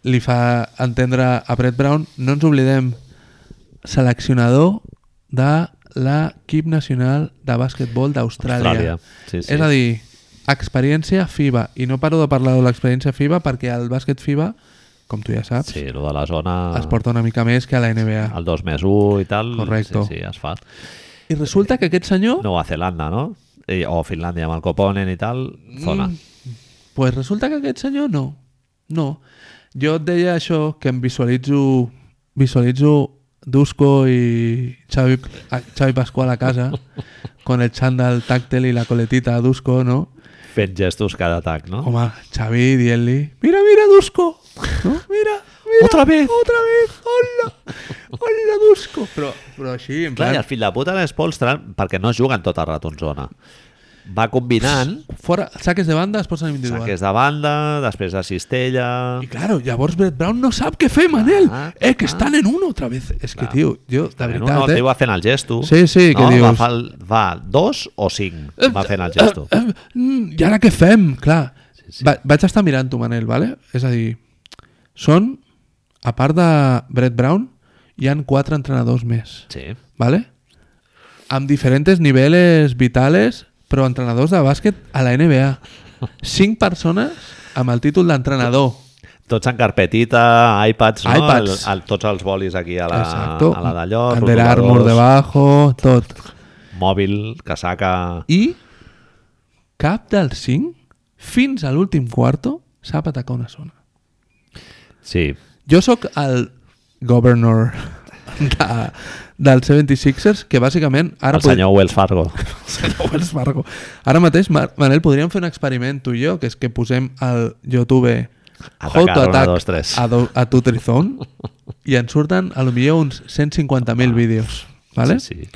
li fa entendre a Brett Brown, no ens oblidem, seleccionador de l'equip nacional de bàsquetbol d'Austràlia.
Austràlia. Sí, sí.
És a dir, experiència FIBA. I no paro de parlar de l'experiència FIBA perquè el bàsquet FIBA, com tu ja saps,
Sí, lo de la zona...
es porta una mica més que a la NBA.
El 2 més 1 i tal.
Correcto.
Sí, sí, es fa.
I resulta que aquest senyor...
Nova Zelanda, no? I, o Finlàndia amb el Coponen i tal, zona. Mm.
pues resulta que aquest senyor no. No. Jo et deia això, que em visualitzo, visualitzo Dusko i Xavi, a- Xavi Pascual a casa, con el xandall tàctil i la coletita a Dusko, no?
Fent gestos cada atac, no?
Home, Xavi dient-li, mira, mira, Dusko! No? Mira, mira!
Otra vez!
Otra vez! Hola! Hola, Dusko! Però, però així, en
Clar, i
plan...
el fill de puta és Polstra, perquè no es juguen tot el rato en zona. Va combinant
Fora, saques de banda es posen individual.
saques de banda, després de cistella...
Y claro, llavors Brett Brown no sabe qué fe, Manel.
Ah,
es que
ah.
están en uno otra vez. Es que, tío, yo, la
En
verdad... eh,
un no, tio va fent el gesto.
Sí, sí,
no?
que
Va,
dius.
fa el, va dos o cinc, va fent el gesto.
I ara què fem? Clar, va, vaig estar mirant-ho, Manel, ¿vale? és a dir, són, a part de Brett Brown, hi han quatre entrenadors més,
Sí,
¿vale? amb diferents nivells vitales, però entrenadors de bàsquet a la NBA. Cinc persones amb el títol d'entrenador.
tots en carpetita, iPads, no?
iPads.
El, el, tots els bolis aquí a la,
Exacto.
a la d'allò,
Under
rotuladors.
Armour debajo, tot.
mòbil, casaca...
I cap dels cinc, fins a l'últim quarto, sap atacar una zona.
Sí,
Jo sóc el governor de, del 76ers, que bàsicament... Ara
el senyor Wells Fargo.
Pod... senyor Wells Fargo. Ara mateix, Mar Manel, podríem fer un experiment tu i jo, que és que posem al YouTube
Atacar,
Hot
una,
Attack
dos, tres.
a, do, a tu Trizón i ens surten a lo millor uns 150.000 vídeos. ¿vale?
Sí, sí.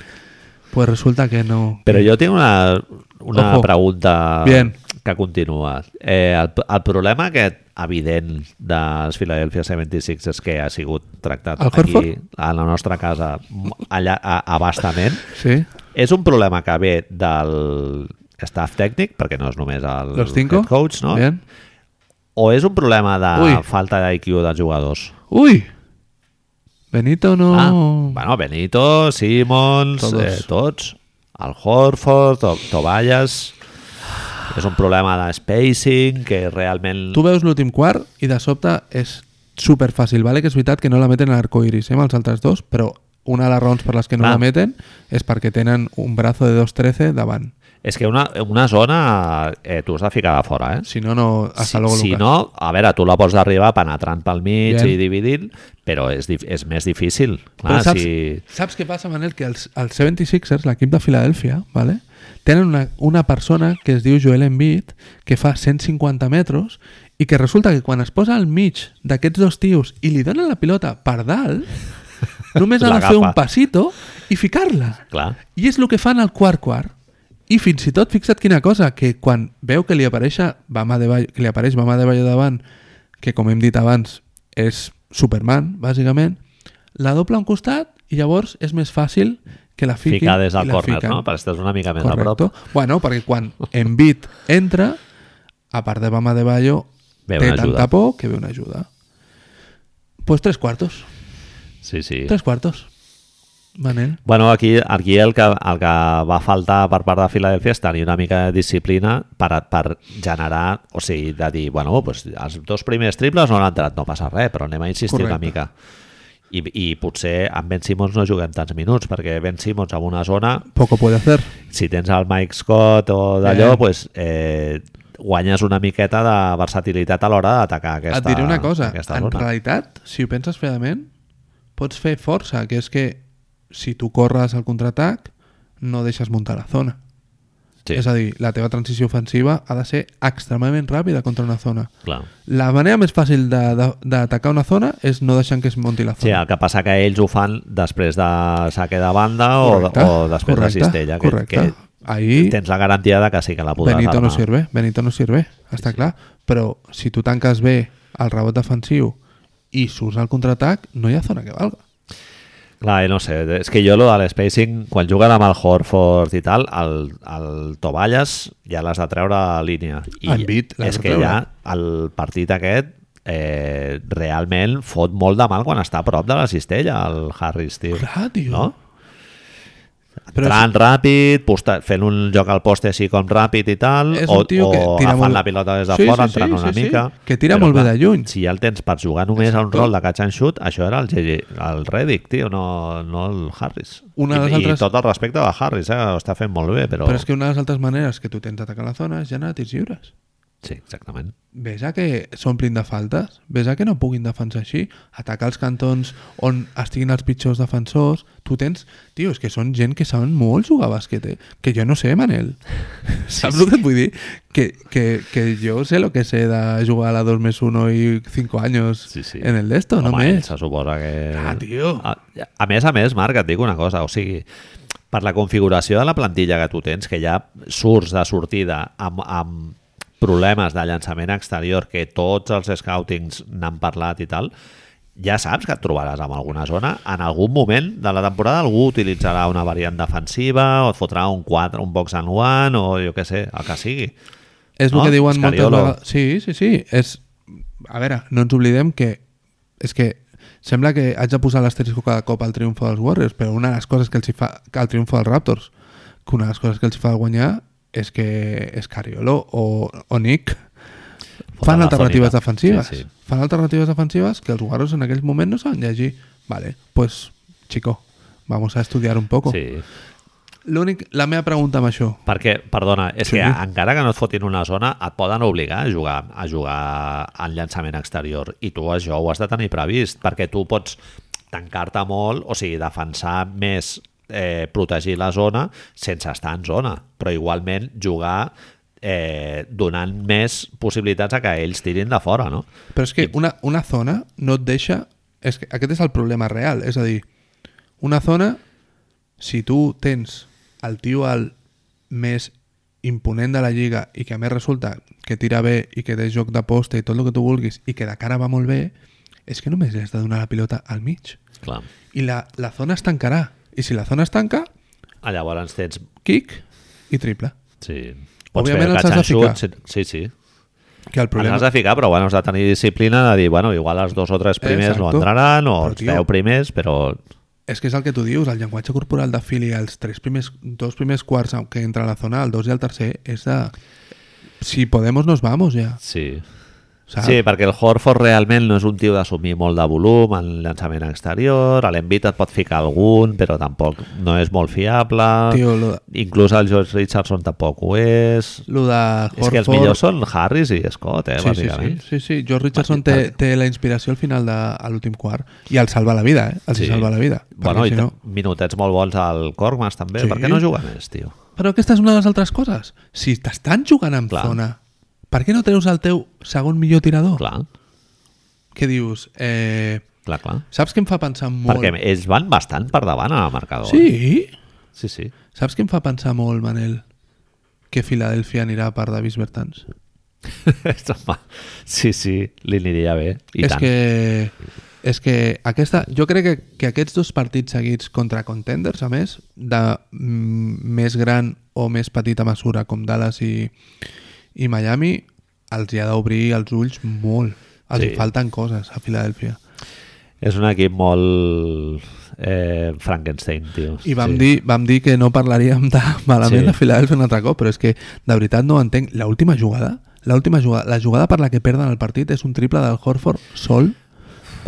Pues resulta que no...
Però jo tinc una, una
Ojo.
pregunta
Bien.
que continua. Eh, el, el problema aquest evident dels Philadelphia 76 és que ha sigut tractat
Al Horford?
aquí, a la nostra casa, m- allà, a, a bastament.
Sí?
És un problema que ve del staff tècnic, perquè no és només el
Los cinco.
head coach, no?
Bien.
O és un problema de
Ui.
falta d'IQ dels jugadors?
Uy. Benito no...
Ah, bueno, Benito, Simons,
Mm.
tots.
Todos.
Eh, tots. El Horford, to Toballes... És un problema de spacing que realment...
Tu veus l'últim quart i de sobte és super fàcil, vale? que és veritat que no la meten a l'arcoiris, eh, amb els altres dos, però una de les raons per les que no
Clar.
la meten és perquè tenen un brazo de 2'13 davant.
És que una, una zona eh, tu has de ficar de fora, eh?
Si no, no... Hasta
si,
luego,
si
Lucas.
no, a veure, tu la pots d'arribar penetrant pel mig
Bien.
i dividint, però és, dif- és més difícil. Clar,
Però saps,
si...
saps què passa, Manel? Que els, els 76ers, l'equip de Filadèlfia, vale? tenen una, una persona que es diu Joel Embiid, que fa 150 metres, i que resulta que quan es posa al mig d'aquests dos tios i li donen la pilota per dalt, només ha de fer un
L'agafa.
passito i ficar-la.
Clar.
I és el que fan al quart quart. I fins i tot, fixa't quina cosa, que quan veu que li, apareix Bama de Bayo, que li apareix Bama de Bayo davant, que com hem dit abans és Superman, bàsicament, la doble a un costat i llavors és més fàcil que la fiquin
Ficar des del
i la
córner,
fiquen.
no? Per estar una mica més a
Correcto.
prop.
Bueno, perquè quan Embiid entra, a part de Bama de Bayo,
Ve
té
una ajuda.
tanta por que ve una ajuda. Pues tres quartos.
Sí, sí.
Tres quartos. Manel.
Bueno, aquí, aquí el, que, el que va faltar per part de Filadelfia és tenir una mica de disciplina per, per generar, o sigui, de dir, bueno, doncs els dos primers triples no han entrat, no passa res, però anem a insistir Correcte.
Correcte.
una mica. I, I potser amb Ben Simmons no juguem tants minuts, perquè Ben Simmons en una zona,
Poco puede hacer.
si tens el Mike Scott o d'allò,
Eh.
eh. Pues, eh, guanyes una miqueta de versatilitat a l'hora d'atacar aquesta
Et diré una cosa, en
aquesta zona.
realitat, si ho penses fredament, pots fer força, que és que si tu corres al contraatac, no deixes muntar la zona.
Sí,
És a dir, la teva transició ofensiva ha de ser extremadament ràpida contra una zona.
clar.
La manera més fàcil de- de- d'atacar una zona és no deixant que es munti la
Sí,
zona.
el que passa que ells ho fan després de saque de banda
Correcte,
o, o després
correcte,
de cistella. Que,
correcte. Ahir-
que tens la garantia de que sí que la podràs
Benito no
armar.
sirve, Benito no sirve, està clar. Però si tu tanques bé el rebot defensiu i surts al contraatac, no hi ha zona que valga.
Clar, i no sé, és que jo lo de l'spacing, quan juguen amb el Horford i tal, el, el Toballes ja l'has de treure a línia. I
Embiid l'has
és
de
que
treure.
ja el partit aquest eh, realment fot molt de mal quan està a prop de la cistella, el Harris, tio.
Clar, tio.
No?
Però
Entrant ràpid, posta, fent un joc al poste així com ràpid i tal,
És
o,
un tio
o
que tira
agafant
molt-
la pilota des de
Sí,
fora,
sí, sí,
entrant una
sí, sí.
mica...
Que tira molt bé
clar,
de lluny.
Si ja el tens per jugar només a un rol de catch and shoot, això era el, GG, el Reddick, tio, no, no el Harris.
Una de
I,
les altres-
I tot el respecte de Harris, eh, ho està fent molt bé, però...
Però és que una de les altres maneres que tu tens d'atacar la zona és generar tirs lliures.
Sí, exactament.
Ves a que s'omplin de faltes, ves a que no puguin defensar així, atacar els cantons on estiguin els pitjors defensors, tu tens... Tio, és que són gent que saben molt jugar a bàsquet, eh? que jo no sé, Manel. Saps el que et vull dir? Que, que, que jo sé lo que sé de jugar a la 2 més 1 i 5 anys
Sí, sí.
en el d'esto, no
Home,
més.
se suposa que...
Ah, tio.
A, a més a més, Marc, et dic una cosa, o sigui, per la configuració de la plantilla que tu tens, que ja surts de sortida amb, amb problemes de llançament exterior que tots els scoutings n'han parlat i tal, ja saps que et trobaràs en alguna zona. En algun moment de la temporada algú utilitzarà una variant defensiva o et fotrà un 4, un box and one o jo què sé, el que sigui.
És el
No?
que diuen moltes
Scariolo.
vegades. Sí, sí, sí. És... A veure, no ens oblidem que... És que sembla que haig de posar l'asterisco cada cop al triomf dels Warriors, però una de les coses que els hi fa al triomf dels Raptors, que una de les coses que els hi fa guanyar és que Escariolo o, o Nick fan
la
alternatives
zonita.
defensives.
Sí, sí.
Fan alternatives defensives que els Warriors en aquell moment no saben llegir. Vale, pues, chico, vamos a estudiar un poco.
Sí.
l'únic... La meva pregunta amb això.
Perquè, perdona, és
Sí.
que encara que no et fotin una zona, et poden obligar a jugar a jugar en llançament exterior i tu això ho has de tenir previst, perquè tu pots tancar-te molt, o sigui, defensar més eh, protegir la zona sense estar en zona, però igualment jugar eh, donant més possibilitats a que ells tirin de fora, no?
Però és que una, una zona no et deixa... És que aquest és el problema real. És a dir, una zona, si tu tens el tio al més imponent de la lliga i que a més resulta que tira bé i que té joc de posta i tot el que tu vulguis i que de cara va molt bé, és que només li has de donar la pilota al mig.
Clar.
I la, la zona es tancarà. I si la zona es tanca,
Ah, Llavors tens...
kick i triple.
Sí.
Òbviament els
catch
has
and
de
shoot, sí, sí. sí.
Que el
Problema.
problema...
Has de ficar, però bueno, has de tenir disciplina de dir, bueno, igual els dos o tres primers Exacto. no
Exacto.
entraran, o
Però,
els
tio-
deu primers, però...
És que és el que tu dius, el llenguatge corporal de Philly als tres primers, dos primers quarts que entra a la zona, el dos i el tercer, és de... Si podemos, nos vamos, ja.
Sí.
Saps?
Sí, perquè el Horford realment no és un tio d'assumir molt de volum en llançament exterior, a l'envit et pot ficar algun, però tampoc no és molt fiable,
Tio, lo, de-
inclús el George Richardson tampoc ho és...
lo de Horford...
És que els millors són Harris i Scott, eh,
sí, sí, sí,
bàsicament.
sí, sí. George Richardson té, té la inspiració al final de a l'últim quart i el salva la vida, eh? Els
Sí.
sí. salva la vida. perquè
Bueno, i
si no...
no... minutets molt bons al Cormas també,
Sí.
sí. per què no juga més, tio?
Però aquesta és una de les altres coses. Si t'estan jugant en
Clar.
zona, per què no treus el teu segon millor tirador?
Clar,
Què dius? Eh,
clar, clar.
saps què em fa pensar molt?
Perquè ells van bastant per davant al marcador. eh?
Sí?
Sí, sí.
Saps què em fa pensar molt, Manel? Que Filadèlfia anirà per Davis Bertans.
Home, sí, sí, li aniria bé. I
és
tant.
que és que aquesta, jo crec que, que aquests dos partits seguits contra contenders, a més, de mm, més gran o més petita mesura, com Dallas i, i Miami, els hi ha d'obrir els ulls molt. Els
Sí.
sí. hi falten coses a Filadèlfia.
És un equip molt eh, Frankenstein, tio.
I vam, sí. dir, vam dir que no parlaríem de malament
Sí.
sí. de Filadèlfia un altre cop, però és que de veritat no ho entenc. L'última jugada, l'última jugada, la jugada per la que perden el partit és un triple del Horford sol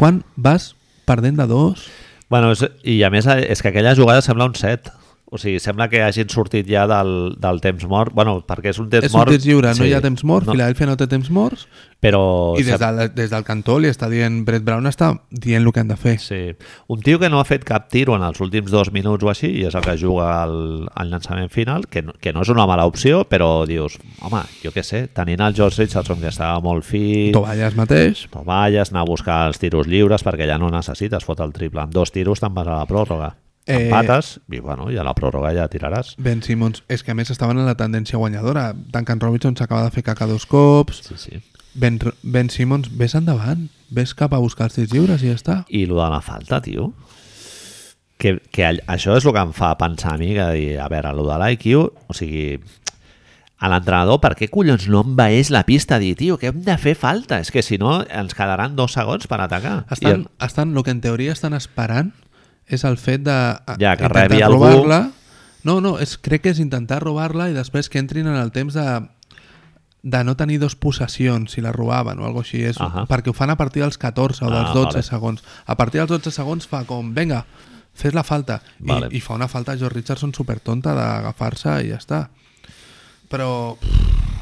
quan vas perdent de dos.
Bueno, és, i a més eh, és que aquella jugada sembla un set. O sigui, sembla que hagin sortit ja del, del temps mort. Bueno, perquè és un temps
És un
mort...
temps lliure, sí. no hi ha temps mort,
No,
no. Filadèlfia no té temps morts
però...
i des,
sembla-
de, des del cantó li està dient Brett Brown està dient el que han de fer.
Sí. Un tio que no ha fet cap tiro en els últims dos minuts o així i és el que juga al, al llançament final, que no, que no és una mala opció, però dius, home, jo què sé, tenint el George Richardson que estava molt fi...
Tovalles mateix,
Tovalles, anar a buscar els tiros lliures perquè ja no necessites, fot el triple. Amb dos tiros te'n vas a la pròrroga.
Eh,
Empates i, bueno, i a la pròrroga ja tiraràs.
Ben Simmons, és que a més estaven en la tendència guanyadora. Duncan Robinson s'acaba de fer caca dos cops,
Sí, sí.
Ben, ben Simmons, ves endavant, ves cap a buscar els tirs lliures i ja està.
I el de la falta, tio. Que, que all- això és el que em fa pensar a mi, que dir, a veure, el de l'IQ, o sigui, a l'entrenador, per què collons no envaeix la pista? Dir, tio, que hem de fer falta? És que si no, ens quedaran dos segons per atacar.
Estan, I... estan, el que en teoria estan esperant és el fet de a-
Ja, que
intentar
rebi algú.
robar-la. No, no, és, crec que és intentar robar-la i després que entrin en el temps de, de no tenir dos possessions si la robaven o alguna així. És,
Ahà.
Perquè ho fan a partir dels 14 o dels
Ah,
12
vale.
segons. A partir dels 12 segons fa com, venga, fes la falta.
Vale.
I, I fa una falta a George Richardson supertonta d'agafar-se i ja està. Però...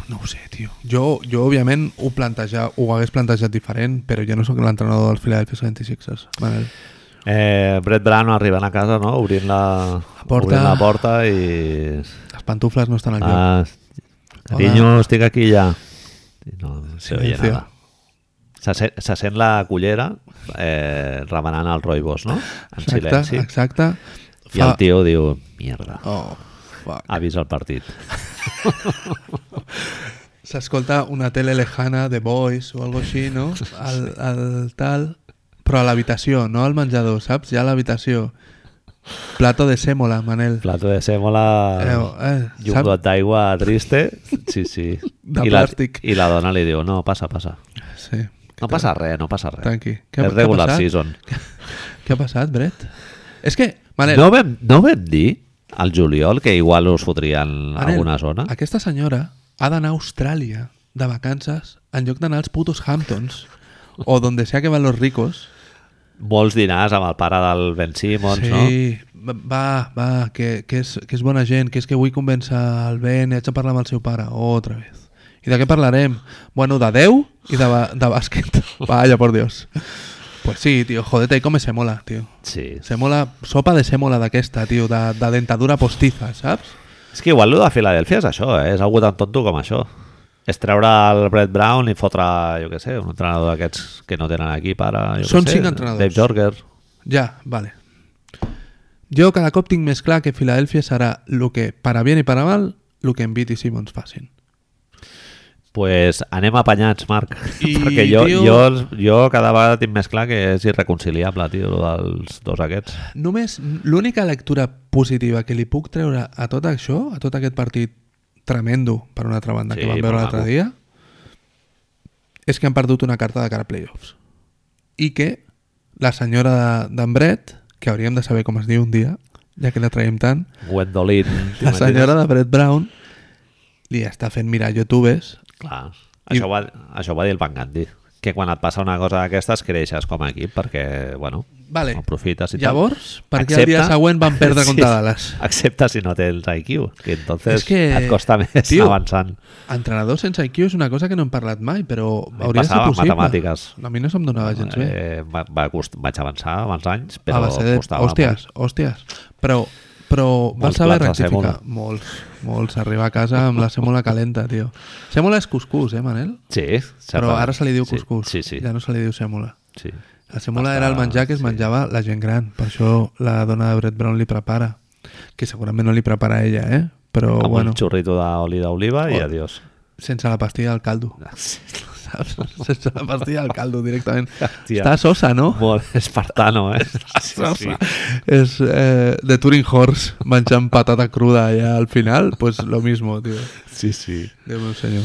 No ho sé, tio. Jo, jo òbviament, ho, planteja, ho hagués plantejat diferent, però jo no sóc l'entrenador del Philadelphia 76ers, Manel.
Eh, Brett Brown arribant a casa, no? Obrint la
Porta.
obrint la porta i...
Les pantufles no estan al lloc.
Ah, cariño, estic aquí ja. I No, no se oye
Silencio.
nada. Se sent, se sent la cullera eh, remenant el roibos, no? En
exacte,
silenci.
exacte.
I el tio diu, mierda,
Oh, fuck.
avisa el partit.
S'escolta una tele lejana de Boys o algo així, no? Al, al tal... Però a l'habitació, no al menjador, saps? Ja a l'habitació. Plato de sèmola, Manel.
Plato de sèmola,
Eh, eh,
i un
saps?
got d'aigua triste. Sí, sí.
De
I la,
plàstic.
I la dona li diu, no, passa, passa.
Sí.
No passa res, no passa res.
Tranqui. Què,
És
què ha
regular
passat?
season.
Què ha passat, Brett? És que, Manel...
No vam, no vam dir al juliol que igual us fotrien
Manel,
alguna zona?
Aquesta senyora ha d'anar a Austràlia de vacances en lloc d'anar als putos Hamptons o donde sea que van los ricos
molts dinars amb el pare del Ben Simmons,
sí,
no?
va, va, que, que, és, que és bona gent, que és que vull convèncer el Ben i haig de parlar amb el seu pare, otra vez. I de què parlarem? Bueno, de Déu i de, ba- de bàsquet. Vaya, por Dios. Pues sí, tío, jodete y come semola, tío.
Sí.
Semola, sopa de semola d'aquesta, tio, de, de dentadura postiza, saps?
És que igual lo de Filadèlfia és això, eh? és algú tan tonto com això. És treure el Brett Brown i fotre, jo què sé, un entrenador d'aquests que no tenen aquí para... Jo què
Són
sé,
cinc entrenadors.
Dave Jorger.
Ja, vale. Jo cada cop tinc més clar que Filadèlfia serà el que, para bien i para mal, el que Embiid i Simmons facin.
pues anem apanyats, Marc.
I,
Perquè jo,
tio-
jo, jo cada vegada tinc més clar que és irreconciliable, tio, lo dels dos aquests.
Només l'única lectura positiva que li puc treure a tot això, a tot aquest partit tremendo, per una altra banda,
Sí,
que vam veure
molt
l'altre
maco.
dia, és que han perdut una carta de cara a playoffs. I que la senyora de- d'en Brett, que hauríem de saber com es diu un dia, ja que la traiem tant,
Gwendolyn.
la
t'imagines?
senyora de Brett Brown li està fent mirar youtubers
Clar.
I-
Això, ho va, això ho va dir el Van Gandhi, que quan et passa una cosa d'aquestes creixes com a equip perquè, bueno,
Vale.
aprofites i
Llavors,
tal.
per què el dia següent van perdre contra Dallas?
Excepte si no tens IQ, que entonces
És que,
et costa més
tio,
anar avançant.
Entrenador sense IQ és una cosa que no hem parlat mai, però
mi em
hauria de ser
passava amb
possible.
matemàtiques.
A mi no se'm donava gens bé.
Eh, va, va cost... Vaig avançar abans anys,
a
però
base de...
costava
Hòsties, hòsties. Però, però vas
Molts
saber
plats de
rectificar. Molts, molts. Arribar a casa amb la sèmola calenta, tio. Sèmola és cuscús, eh, Manel?
molt. Sí,
Però
certament.
ara se li diu
Sí,
cuscús.
Sí, sí.
Ja no se li diu sèmola.
sí.
La sèmola era el menjar que es menjava la gent gran. Per això la dona de Brett Brown li prepara. Que segurament no li prepara a ella, eh? Però,
Amb
bueno,
un xurrito d'oli d'oliva i
Oh.
adiós.
sense la pastilla del caldo. saps? Sense la pastilla al caldo directament.
Hòstia.
Està sosa, no?
Molt espartano, eh? Sí, sí.
És eh, de Turing Horse menjant patata cruda allà al final, pues lo mismo, tío.
sí, sí.
Déu meu senyor.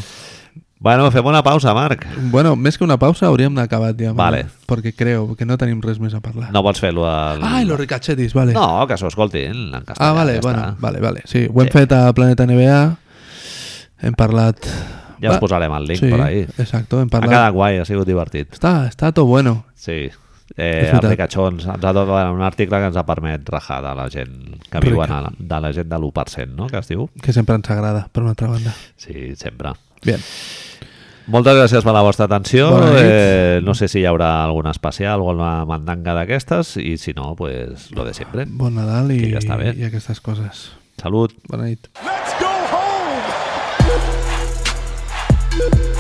Bueno, fem una pausa, Marc.
Bueno, més que una pausa hauríem d'acabar ja,
Vale.
perquè creo que no tenim res més a parlar.
No vols fer-lo al...
Ah, i los ricachetis, vale.
No, que s'ho escoltin en castellà.
ah, vale,
ja
bueno,
està.
vale, vale. Sí, ho hem
Sí.
fet a Planeta NBA, hem parlat...
Ja us posarem el link
sí,
per ahí.
Exacto, hem
Ha
parlat...
quedat guai, ha sigut divertit.
Està, està tot bueno.
Sí.
És
Eh,
veritat.
els ricachons ens ha donat un article que ens ha permet rajar de la gent que
Rica.
viuen a la, de la gent de l'1%, no?, que es diu.
Que sempre ens agrada, per una altra banda.
Sí, sempre.
Bien.
Moltes gràcies per la vostra atenció.
Bona nit.
Eh, no sé si hi haurà algun especial o alguna mandanga d'aquestes i si no, pues lo de sempre.
Bon Nadal i,
Que ja està bé.
i aquestes coses.
Salut.
Bona nit.
Let's go home.